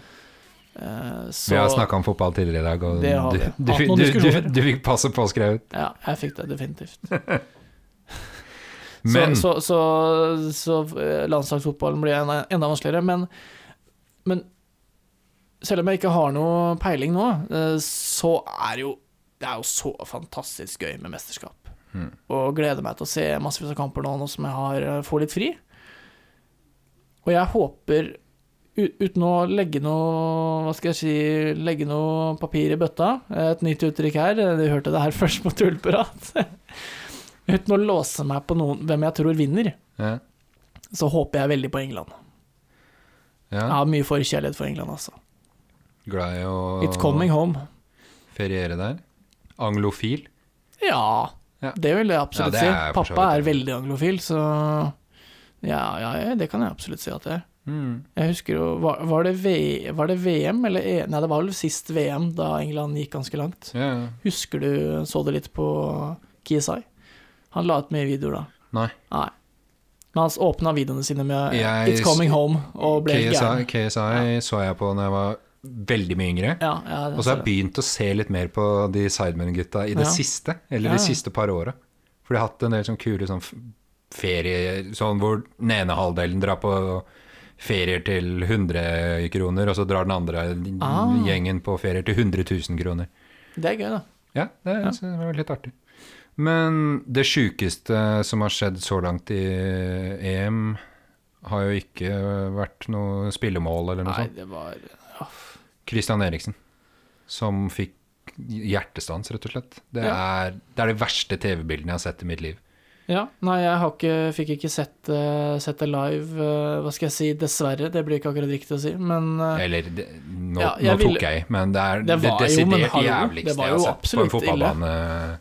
A: Eh, Så
B: Vi har snakka om fotball tidligere i dag, og
A: Det har
B: du,
A: vi.
B: du,
A: Hatt noen
B: du, du,
A: diskusjoner.
B: du fikk passet påskrevet.
A: Ja, jeg fikk det definitivt.
B: Men
A: Så, så, så, så eh, landslagsfotballen blir enda, enda vanskeligere. Men, men selv om jeg ikke har noe peiling nå, eh, så er jo det er jo så fantastisk gøy med mesterskap.
B: Mm.
A: Og gleder meg til å se massevis av kamper nå, nå som jeg har, eh, får litt fri. Og jeg håper, u- uten å legge noe Hva skal jeg si Legge noe papir i bøtta, et nytt uttrykk her, eh, du hørte det her [LAUGHS] først på Tullprat [LAUGHS] Uten å låse meg på noen, hvem jeg tror vinner,
B: ja,
A: så håper jeg veldig på England. Jeg
B: ja,
A: har mye forkjærlighet for England, altså.
B: glad i
A: It's coming
B: å
A: home.
B: feriere der. Anglofil.
A: Ja,
B: Ja.
A: det vil jeg
B: Ja,
A: absolutt
B: det er jeg
A: si.
B: for så
A: Pappa
B: vidt
A: er
B: enig i.
A: veldig anglofil, så Ja, ja, ja, det kan jeg absolutt si at det er. Jeg husker jo Var, var, det, v, var det VM, eller E- Nei, det var vel sist VM, da England gikk ganske langt.
B: Ja, ja.
A: Husker du Så det litt på KSI? Han la ut mye videoer da.
B: Nei.
A: Nei. Men han åpna videoene sine med eh,
B: Jeg-
A: 'It's Coming Home' og ble helt
B: KSI,
A: gæren.
B: KSI så jeg på da jeg var veldig mye yngre.
A: Ja, ja, det-
B: Og så har jeg begynt å se litt mer på de Sidemen-gutta i det
A: Ja.
B: siste, eller
A: Ja, ja.
B: de siste par åra. For de har hatt en del sånn kule sånn f- ferie, sånn hvor den ene halvdelen drar på ferier til 100 kroner, og så drar den andre
A: Ah.
B: gjengen på ferier til 100 000 kroner.
A: det er gøy, da.
B: Ja, det
A: Ja.
B: synes jeg var litt artig. Men det sjukeste som har skjedd så langt i EM, har jo ikke vært noe spillemål eller noe
A: Nei,
B: sånt.
A: det var ja.
B: Christian Eriksen, som fikk hjertestans, rett og slett. Det
A: Ja.
B: er det, er det verste TV-bildene jeg har sett i mitt liv.
A: ja. Nei, jeg har ikke, fikk ikke sett, eh, sett det live, eh, hva skal jeg si, dessverre. Det blir ikke akkurat riktig å si, men eh,
B: Eller det, nå,
A: Ja, jeg
B: nå
A: ville-
B: tok jeg i, men det er det,
A: Det var jo, men
B: desidert
A: hallo, det
B: jævligste
A: var
B: jeg har
A: jo
B: sett på en
A: absolutt ille.
B: fotballbane.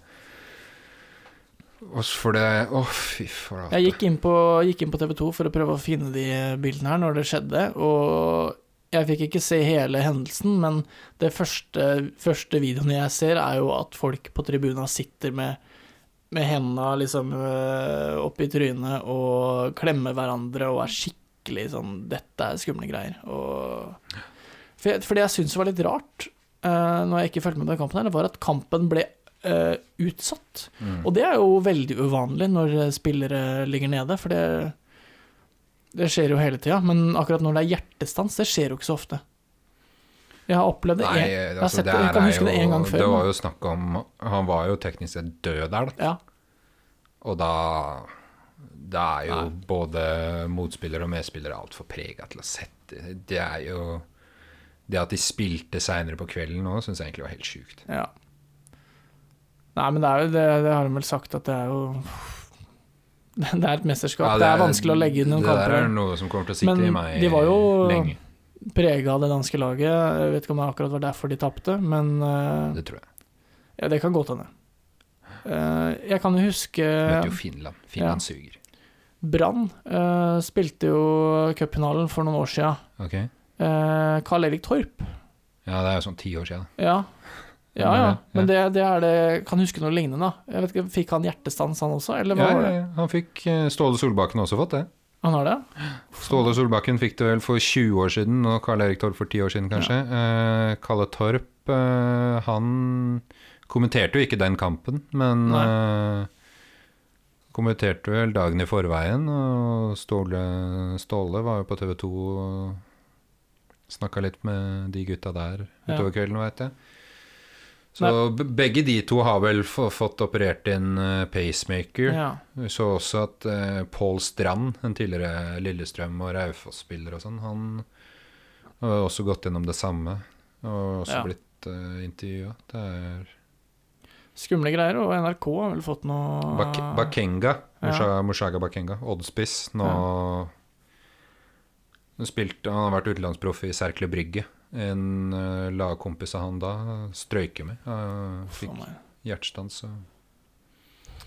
B: Og så For det Å, fy flate.
A: Jeg gikk inn, på, gikk inn på TV 2 for å prøve å finne de bildene her når det skjedde, og jeg fikk ikke se hele hendelsen, men det første, første videoen jeg ser, er jo at folk på tribuna sitter med, med hendene liksom øh, oppi trynet og klemmer hverandre og er skikkelig sånn Dette er skumle greier. Og for, jeg, for det jeg syns var litt rart, øh, når jeg ikke fulgte med på den kampen, her, det var at kampen ble øh, utsatt.
B: Mm.
A: Og det er jo veldig uvanlig når eh, spillere ligger nede, for det, det skjer jo hele tida. Men akkurat når det er hjertestans, det skjer jo ikke så ofte. Jeg har opplevd det
B: Nei,
A: en, jeg har
B: altså,
A: sett
B: det
A: det, jeg
B: her
A: kan
B: er
A: huske det en gang
B: jo
A: før.
B: Det var
A: men-
B: jo snakk om Han var jo teknisk sett død der, da.
A: ja,
B: Og da Det er jo både motspillere og medspillere altfor prega til å sette Det er jo Det at de spilte seinere på kvelden nå, syns jeg egentlig var helt sjukt.
A: ja. Nei, men det er jo det, det har de vel sagt, at det er jo [LAUGHS] Det er et mesterskap. det, er vanskelig å legge inn noen
B: Det der er
A: kamper.
B: noe som kommer til å sitte
A: Men
B: i meg
A: de var jo-
B: lenge.
A: Prega av det danske laget. Jeg vet ikke om det akkurat var derfor de tapte, men eh,
B: Det tror jeg.
A: ja, det kan godt hende. Eh, jeg kan jo huske
B: Møtte jo Finland. Finland suger.
A: Brann eh, spilte jo cupfinalen for noen år siden.
B: Ok?
A: Eh, Karl Erik Torp.
B: Ja, det er jo sånn ti år siden.
A: Ja, ja.
B: Ja,
A: ja.
B: ja.
A: Men det, det er det Kan huske noe lignende. da. Jeg vet ikke, Fikk han hjertestans, han også? Eller hva
B: Ja,
A: var
B: ja,
A: det?
B: ja. han fikk eh, Ståle Solbakken har også fått det.
A: Han har det?
B: Ståle Solbakken fikk det vel for 20 år siden, og Karl Erik Torp for 10 år siden, kanskje. Eh, Kalle Torp, eh, han kommenterte jo ikke den kampen, men eh, kommenterte vel dagen i forveien, og Ståle, Ståle var jo på TV 2 og snakka litt med de gutta der
A: Ja.
B: utover kvelden, veit jeg. Så be- begge de to har vel få- fått operert inn eh, pacemaker.
A: Ja.
B: Vi så også at eh, Pål Strand, en tidligere Lillestrøm- og Raufoss-spiller og sånn, han har også gått gjennom det samme og
A: Ja.
B: også blitt uh, intervjua. Det er
A: Skumle greier, og NRK har vel fått noe
B: Bak Bakenga,
A: Ah. Ja.
B: Musha Mushaga Bakenga, oddspiss. Nå nå spilte, Han har vært utenlandsproff i Serkle Brygge. En eh, lagkompis av han da strøyker med. eh,
A: Uff,
B: fikk
A: faen meg.
B: hjertestans. og-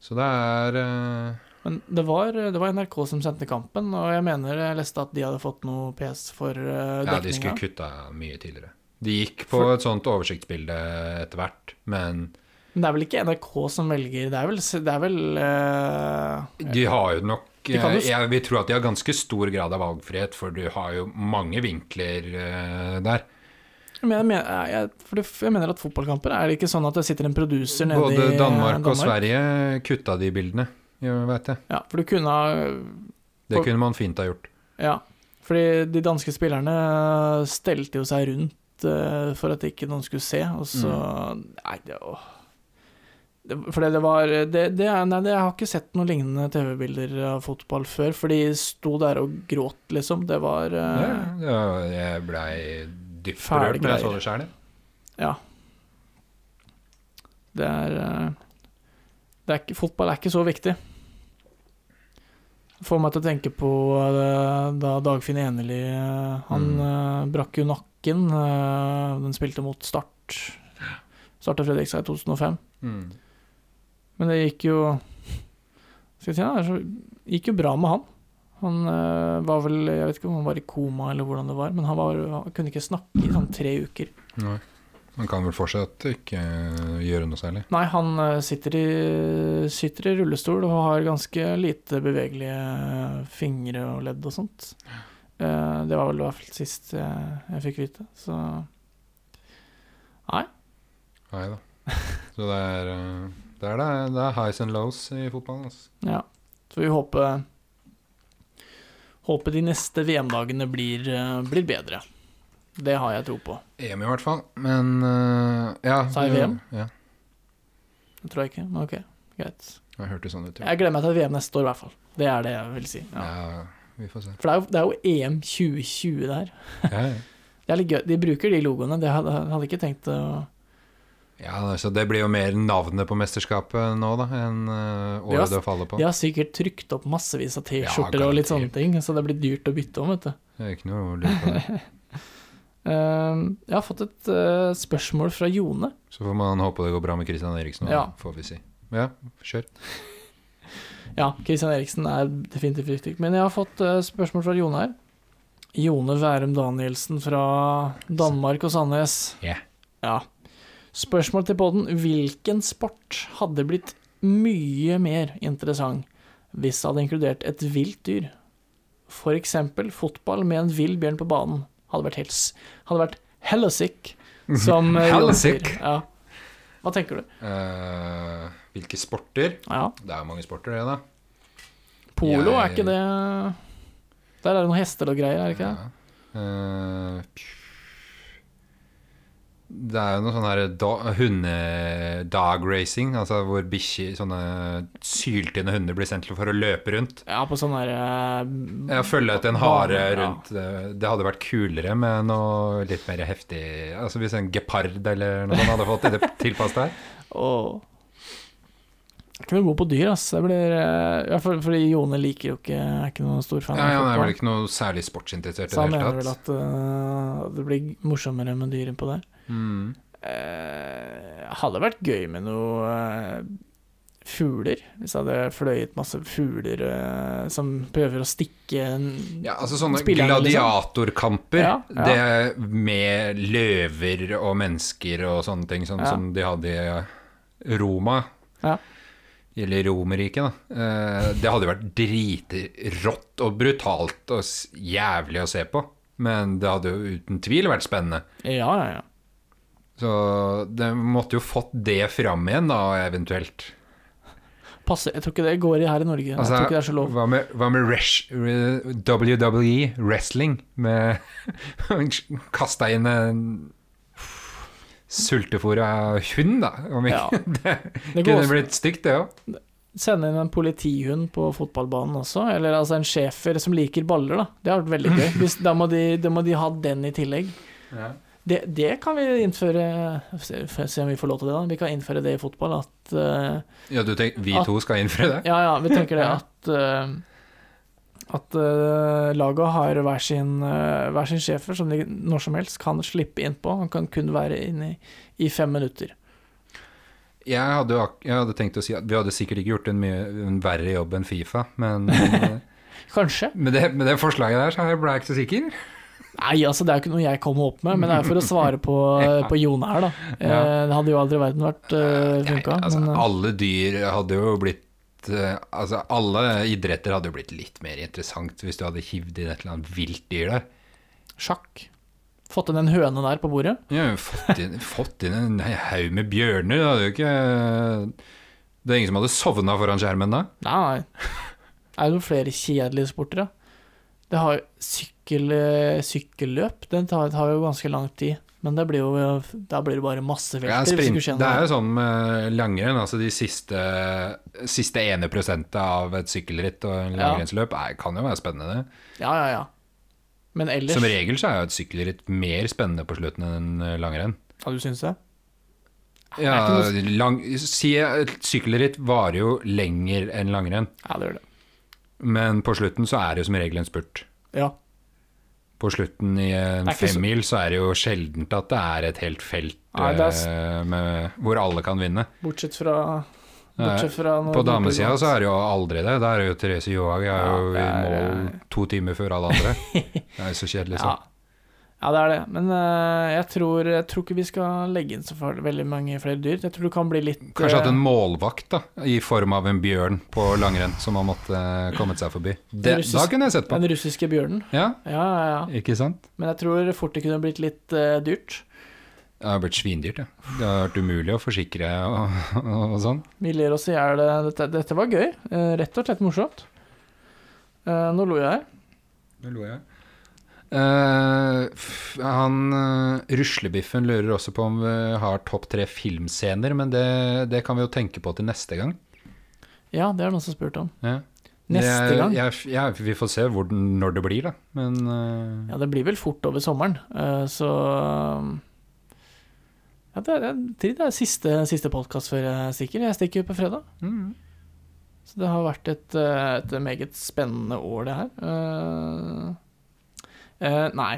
B: Så det er eh,
A: Men det var, det var NRK som sendte kampen, og jeg mener jeg leste at de hadde fått noe PS for uh,
B: Ja, de skulle
A: dekninga.
B: kutta mye tidligere. De gikk på
A: For-
B: et sånt oversiktsbilde etter hvert, men
A: Men det er vel ikke NRK som velger, det er vel, det er vel eh,
B: de har jo nok eh,
A: De kan jo s-
B: Jeg vil tro at de har ganske stor grad av valgfrihet, for du har jo mange vinkler eh, der.
A: Men jeg, mener, jeg, for det- jeg mener at fotballkamper er det ikke sånn at det sitter en producer nede i
B: Både
A: eh,
B: Danmark og Sverige kutta de bildene, veit jeg.
A: Ja, for du kunne ha
B: Det
A: For-
B: kunne man fint ha gjort.
A: Ja. Fordi de danske spillerne stelte jo seg rundt eh, for at ikke noen skulle se, og så
B: Mm.
A: Nei, det åh. Det- Fordi det var det, det er, Nei, det, jeg har ikke sett noen lignende TV-bilder av fotball før, for de sto der og gråt, liksom. Det var eh,
B: Ja, ja, jeg blei dypt
A: Fæle
B: berørt når jeg så
A: greier.
B: det sjæl.
A: Ja. Det er, eh, det er ikke, Fotball er ikke så viktig. Får meg til å tenke på eh, da Dagfinn Enerli eh, Han eh, brakk jo nakken. eh, Den spilte mot Start. Starta Fredrikstad i 2005.
B: Mm.
A: Men det gikk jo Skal jeg si det, det er så- gikk jo bra med han. Han eh, var vel Jeg vet ikke om han var i koma eller hvordan det var, men han, var, han kunne ikke snakke i sånn tre uker.
B: Nei. Man kan vel fortsatt ikke eh, gjøre noe særlig.
A: Nei, han eh, sitter i, sitter i rullestol og har ganske lite bevegelige fingre og ledd og sånt. Eh, Det var vel i hvert fall sist jeg, jeg fikk vite, så
B: Nei da. Så det er, eh, det, er det, det er highs and lows i fotballen. Altså.
A: Ja. Så vi håper Håper de neste VM-dagene blir, eh, blir bedre. Det har jeg tro på.
B: EM i hvert fall, men eh, ja,
A: Sa jeg
B: det-
A: VM?
B: Ja,
A: Det tror jeg ikke, men ok, greit.
B: jeg hørte sånn ut. Ja.
A: Jeg gleder meg til VM neste år, i hvert fall. Det er det jeg vil si. Ja.
B: Ja, vi får se.
A: For det er, jo, det er jo EM 2020 det her.
B: Ja, ja.
A: Det er litt gøy. De bruker de logoene. Det hadde, hadde ikke tenkt å
B: ja, altså, det blir jo mer navnet på mesterskapet nå da, enn eh,
A: Ja,
B: året det faller på.
A: De har sikkert trykt opp massevis av T-skjorter
B: Ja,
A: og litt sånne
B: garantert.
A: ting, så det blir dyrt å bytte om, vet du.
B: Det er ikke noe å lure på. det.
A: Ehm, jeg har fått et eh, spørsmål fra Jone.
B: Så får man håpe det går bra med Christian Eriksen, og
A: Ja.
B: får vi si. Ja, kjør.
A: Ja, Christian Eriksen er definitivt riktig. Men jeg har fått eh, spørsmål fra Jone her. Jone Værum Danielsen fra Danmark og Sandnes.
B: Ja.
A: Ja. Spørsmål til podden. Hvilken sport hadde blitt mye mer interessant hvis det hadde inkludert et vilt dyr? For eksempel fotball med en vill bjørn på banen. Hadde vært, helt, s- hadde vært hella sick, som
B: [LAUGHS]
A: eh, Jone sier.
B: Hellasick?
A: Ja. Hva tenker du?
B: Eh, hvilke sporter?
A: Ja.
B: Det er jo mange sporter, det, da.
A: Polo, er
B: Jeg-
A: ikke det Der er det noen hester og greier, er det ikke det?
B: Ja. Eh, det er jo noe sånn her do- hunde-dog racing, altså hvor bikkjer, sånne syltynne hunder blir sendt til for å løpe rundt.
A: Ja, på sånn eh, derre
B: Jeg følger etter en hare rundt eh, Det hadde vært kulere med noe litt mer heftig Altså hvis en gepard eller noe sånt hadde fått det [LAUGHS] tilpasset her.
A: Åh. Jeg er ikke noe god på dyr, ass. Jeg blir, eh, ja, for, fordi Jone liker jo ikke Er ikke noen stor fan
B: Ja, ja,
A: av
B: han er vel
A: fotball.
B: ikke noe særlig sportsinteressert i
A: Så han
B: det
A: mener
B: hele
A: vel
B: tatt.
A: at eh, det blir morsommere med dyr innpå der.
B: Mm.
A: Eh, hadde vært gøy med noe eh, fugler. Hvis jeg hadde fløyet masse fugler eh, som prøver å stikke en
B: Ja, altså sånne
A: Spillerne, liksom.
B: gladiatorkamper,
A: Ja, ja.
B: det er med løver og mennesker og sånne ting, sånn
A: Ja.
B: som de hadde i Roma,
A: Ja.
B: eller Romerriket, da. Eh, Det hadde jo vært dritrått og brutalt og s- jævlig å se på, men det hadde jo uten tvil vært spennende.
A: Ja, ja, ja.
B: Så det måtte jo fått det fram igjen, da, eventuelt.
A: Passe, jeg tror ikke det går i her i Norge. jeg tror ikke det er så lov.
B: Altså, Hva med, hva med res, re- WWE, E wrestling, med [LAUGHS] kasta inn en sultefòra hund, da? Om ikke
A: Ja.
B: [LAUGHS] det
A: Det går
B: kunne
A: også.
B: blitt stygt, det òg.
A: Sende inn en politihund på fotballbanen også, eller altså en schæfer som liker baller, da. Det har vært veldig gøy. Hvis, da, må de, da må de ha den i tillegg. Det, det kan vi innføre se, får jeg se om vi får lov til det, da. Vi kan innføre det i fotball at eh,
B: Ja, du tenker vi
A: Ah.
B: to skal innføre det?
A: Ja, ja, vi tenker det at eh, At eh, laget har hver sin, eh, hver sin schæfer som de når som helst kan slippe innpå. Han kan kun være inne i, i fem minutter.
B: Jeg hadde, jo ak- jeg hadde tenkt å si at vi hadde sikkert ikke gjort en, mye, en verre jobb enn Fifa,
A: [LAUGHS]
B: men eh,
A: Kanskje.
B: med, det, med det forslaget der så ble jeg ikke så sikker.
A: Nei, altså det er jo ikke noe jeg kommer opp med, men det er for å svare
B: [LAUGHS]
A: på, på Jone her, da. Eh,
B: Ja.
A: Det hadde jo aldri i verden vært uh, funka.
B: altså,
A: men, eh,
B: alle dyr hadde jo blitt eh, Altså, alle idretter hadde jo blitt litt mer interessant hvis du hadde hivd inn et eller annet vilt dyr der.
A: sjakk. Fått inn en høne der på bordet.
B: Du hadde jo fått inn, [LAUGHS] fått inn en haug med bjørner. Det hadde jo ikke Det er ingen som hadde sovna foran skjermen da.
A: Nei,
B: [LAUGHS]
A: nei. Er det noen flere kjedelige sporter, da? Det har sykkel, eh, sykkelløp. Den tar, tar jo ganske lang tid. Men det blir jo, eh, da blir det bare masse
B: Ja,
A: velter. hvis
B: sprint,
A: du skjønner
B: det er jo sånn med langrenn. Altså de siste, siste ene prosentet av et sykkelritt og en
A: Ja.
B: langrennsløp er, kan jo være spennende.
A: Ja, ja, ja. Men ellers
B: Som regel så er jo et sykkelritt mer spennende på slutten enn langrenn.
A: Ja, du syns det?
B: Ja,
A: Det
B: lang, si, et sykkelritt varer jo lenger enn langrenn,
A: Ja, det gjør det.
B: men på slutten så er det jo som regel en spurt.
A: Ja.
B: På slutten i en
A: Det er ikke så-
B: femmil så er det jo sjeldent at det er et helt felt
A: Nei, det er s-
B: eh, med, hvor alle kan vinne.
A: Bortsett fra Bortsett fra når
B: På
A: du-
B: damesida så er det jo aldri det. Da er det jo Therese Johaug er
A: Ja,
B: jo i
A: det er-
B: mål to timer før alle
A: [LAUGHS]
B: andre. Det er jo så kjedelig, så.
A: ja. ja, det er det. Men eh, jeg, tror, jeg tror ikke vi skal legge inn så for veldig mange flere dyr. Jeg tror det kan bli litt
B: Kanskje hatt
A: eh,
B: en målvakt, da, i form av en bjørn på langrenn som har måttet eh, kommet seg forbi. Det,
A: russisk-
B: da kunne jeg sett på.
A: Den russiske bjørnen.
B: Ja,
A: Ja, ja, ja.
B: ikke sant?
A: Men jeg tror fort det kunne blitt litt eh, dyrt.
B: Det har blitt svindyrt, ja. Det har vært umulig å forsikre og, og sånn.
A: Vi ler oss i hjel. eh, Dette, dette var gøy. Eh, rett og slett morsomt. Eh, nå lo jeg her.
B: Nå lo jeg. Eh, f- han eh, Ruslebiffen lurer også på om vi har topp tre filmscener, men det, det kan vi jo tenke på til neste gang.
A: Ja, det er det noen som spurte om.
B: Ja.
A: Neste
B: Jeg-
A: gang?
B: Jeg, ja, vi får se hvor, den- når det blir, da. Men eh,
A: Ja, det blir vel fort over sommeren, eh, så ja, det, er, det er siste, siste podkast før jeg stikker. Jeg stikker jo på fredag.
B: mm.
A: Så det har vært et, eh, et meget spennende år, det her. Eh, eh, nei.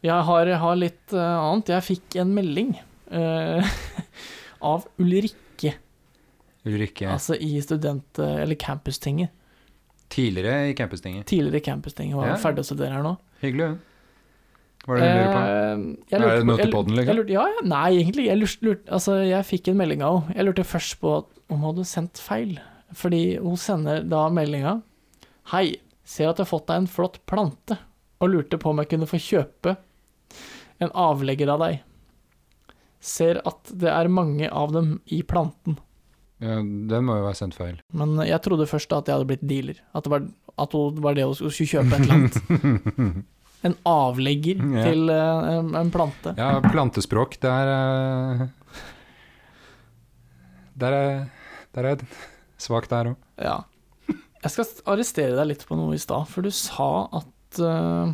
A: Jeg har, har litt eh, annet. Jeg fikk en melding eh, [LAUGHS] av Ulrikke,
B: Ulrikke
A: altså i student- eh, eller campustinget.
B: tidligere i campustinget.
A: Tidligere campusting. Hun er
B: Ja.
A: ferdig å studere her nå.
B: Hyggelig, hun. Hva er det hun lurer på?
A: Eh, jeg lurte
B: Er det
A: på-
B: noe til
A: jeg-
B: podden, liksom?
A: jeg lurte- Ja, ja, nei, egentlig. Jeg, lurte, lurte, altså, jeg fikk en melding av henne. Jeg lurte først på at om hun hadde sendt feil. Fordi hun sender da meldinga Hei, ser at jeg har fått deg en flott plante, og lurte på om jeg kunne få kjøpe en avlegger av deg. Ser at det er mange av dem i planten.
B: Ja, den må jo være sendt feil.
A: Men jeg trodde først at jeg hadde blitt dealer. At det var, at det, var det å skulle kjøpe et eller annet.
B: [LAUGHS]
A: En avlegger
B: Ja.
A: til eh, en, en plante.
B: Ja, plantespråk, det er eh, Der er Der er svak der òg.
A: Ja. Jeg skal arrestere deg litt på noe i stad, for du sa at eh,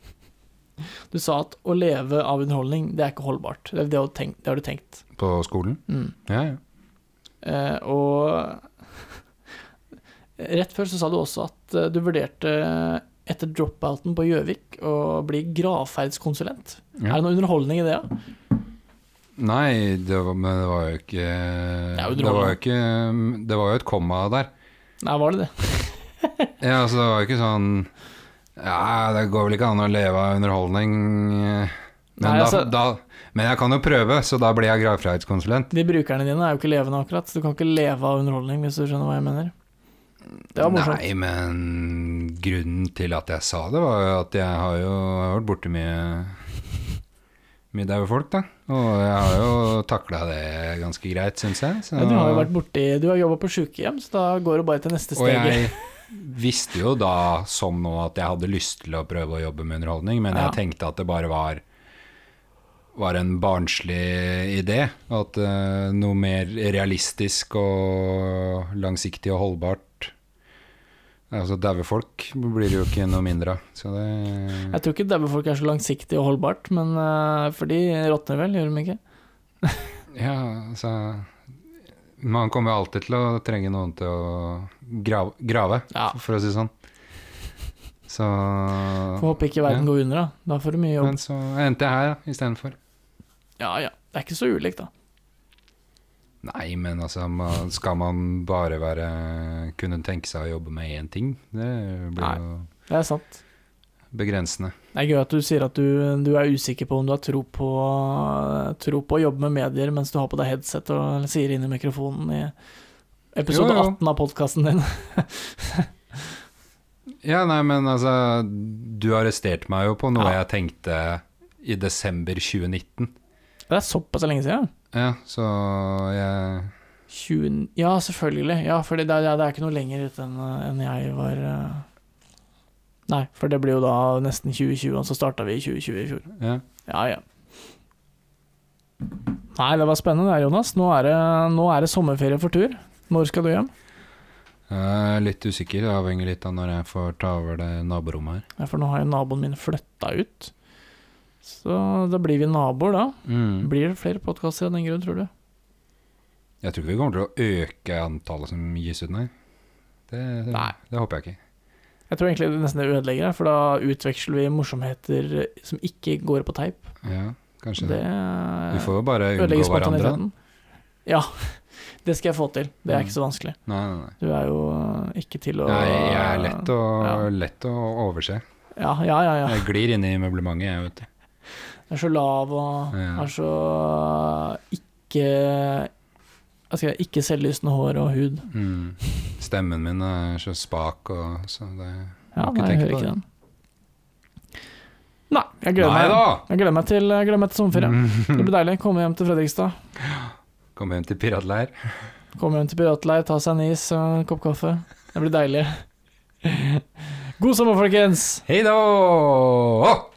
A: [LAUGHS] Du sa at å leve av underholdning, det er ikke holdbart. Det, det, har, du tenkt, det har du tenkt.
B: På skolen?
A: Mm.
B: Ja, ja.
A: Eh, og [LAUGHS] rett før så sa du også at eh, du vurderte etter dropouten på Gjøvik å bli gravferdskonsulent.
B: Ja.
A: Er det noe underholdning i det? Ja?
B: Nei, det var, men det var jo ikke
A: er jo
B: Det var jo ikke Det var jo et komma der.
A: Nei, var det det?
B: Ja, altså det var jo ikke sånn Ja, det går vel ikke an å leve av underholdning eh, Men,
A: Nei, altså-
B: da, da, men jeg kan jo prøve, så da blir jeg gravferdskonsulent.
A: De brukerne dine er jo ikke levende akkurat, så du kan ikke leve av underholdning, hvis du skjønner hva jeg mener. Det var morsomt.
B: Nei, men grunnen til at jeg sa det, var jo at jeg har jo jeg har vært borti mye Mye daue folk, da. Og jeg har jo takla det ganske greit, syns jeg. Så.
A: Ja, du har jo vært borti Du har jobba på sjukehjem, så da går du bare til neste
B: Og
A: steg.
B: jeg visste jo da som nå at jeg hadde lyst til å prøve å jobbe med underholdning, men
A: Ja.
B: jeg tenkte at det bare var, var en barnslig idé. At eh, noe mer realistisk og langsiktig og holdbart Altså daue folk blir det jo ikke noe mindre av. Så det
A: Jeg tror ikke daue folk er så langsiktig og holdbart, men eh, for de råtner vel, gjør de ikke?
B: Ja, altså Man kommer jo alltid til å trenge noen til å grave, grave
A: Ja.
B: for å si det sånn. Så
A: Får håpe ikke verden
B: Ja.
A: går under, da. Da får du mye jobb.
B: Men så endte jeg her ja, istedenfor.
A: Ja ja, det er ikke så ulikt, da.
B: Nei, men altså, man, skal man bare være kunne tenke seg å jobbe med én ting? Det blir
A: Nei.
B: jo
A: Det er sant.
B: begrensende.
A: Det er gøy at du sier at du, du er usikker på om du har tro på, tro på å jobbe med medier mens du har på deg headset og sier inn i mikrofonen i episode
B: Jo, jo.
A: 18 av podkasten din.
B: Ja, nei, men altså, du arresterte meg jo på noe
A: Ja.
B: jeg tenkte i desember 2019.
A: Det er såpass lenge siden.
B: Ja, så jeg
A: 20, ja, selvfølgelig. Ja, for det, det, er- det er ikke noe lenger ut enn enn jeg var eh. Nei, for det blir jo da nesten 2020, og så starta vi i 2020 i fjor.
B: Ja,
A: Ja, ja. Nei, det var spennende det her, Jonas. Nå er det, nå er det sommerferie for tur. Når skal du hjem?
B: jeg er litt usikker. Det avhenger litt av når jeg får ta over det naborommet her.
A: Ja, for nå har jo naboen min flytta ut. Så da blir vi naboer, da.
B: Mm.
A: Blir det flere podkaster av den grunn, tror du?
B: Jeg tror ikke vi kommer til å øke antallet som gis ut, nei. Det, det,
A: Nei.
B: det håper jeg ikke.
A: Jeg tror egentlig det nesten ødelegger det, for da utveksler vi morsomheter som ikke går på teip.
B: Ja, kanskje
A: Det
B: Vi får jo bare unngå
A: Ødelegge
B: hverandre. da.
A: spontaniteten. Ja. [LAUGHS] det skal jeg få til. Det er
B: Mm.
A: ikke så vanskelig.
B: Nei, nei, nei.
A: Du er jo eh, ikke til å
B: Nei, jeg er lett å,
A: Ja.
B: lett å overse.
A: Ja, ja, ja. ja.
B: Jeg glir inn i møblementet, jeg, vet du.
A: Jeg er så lav og
B: Ja.
A: er så eh, ikke hva skal jeg, si, Ikke selvlystende hår og hud.
B: Mm. Stemmen min er så spak og så det
A: Ja,
B: Må
A: nei,
B: ikke
A: jeg
B: tenke
A: hører
B: på
A: ikke
B: det.
A: den. Nei, jeg gleder
B: Nei
A: meg.
B: da! Mm.
A: Jeg gleder meg til, jeg gleder meg til sommerferie. Det blir deilig. Komme hjem til Fredrikstad.
B: [LAUGHS] Kom hjem til piratleir.
A: Komme hjem til piratleir, ta seg en is og en kopp kaffe. [LAUGHS] Det blir deilig. God sommer, folkens!
B: Hei da!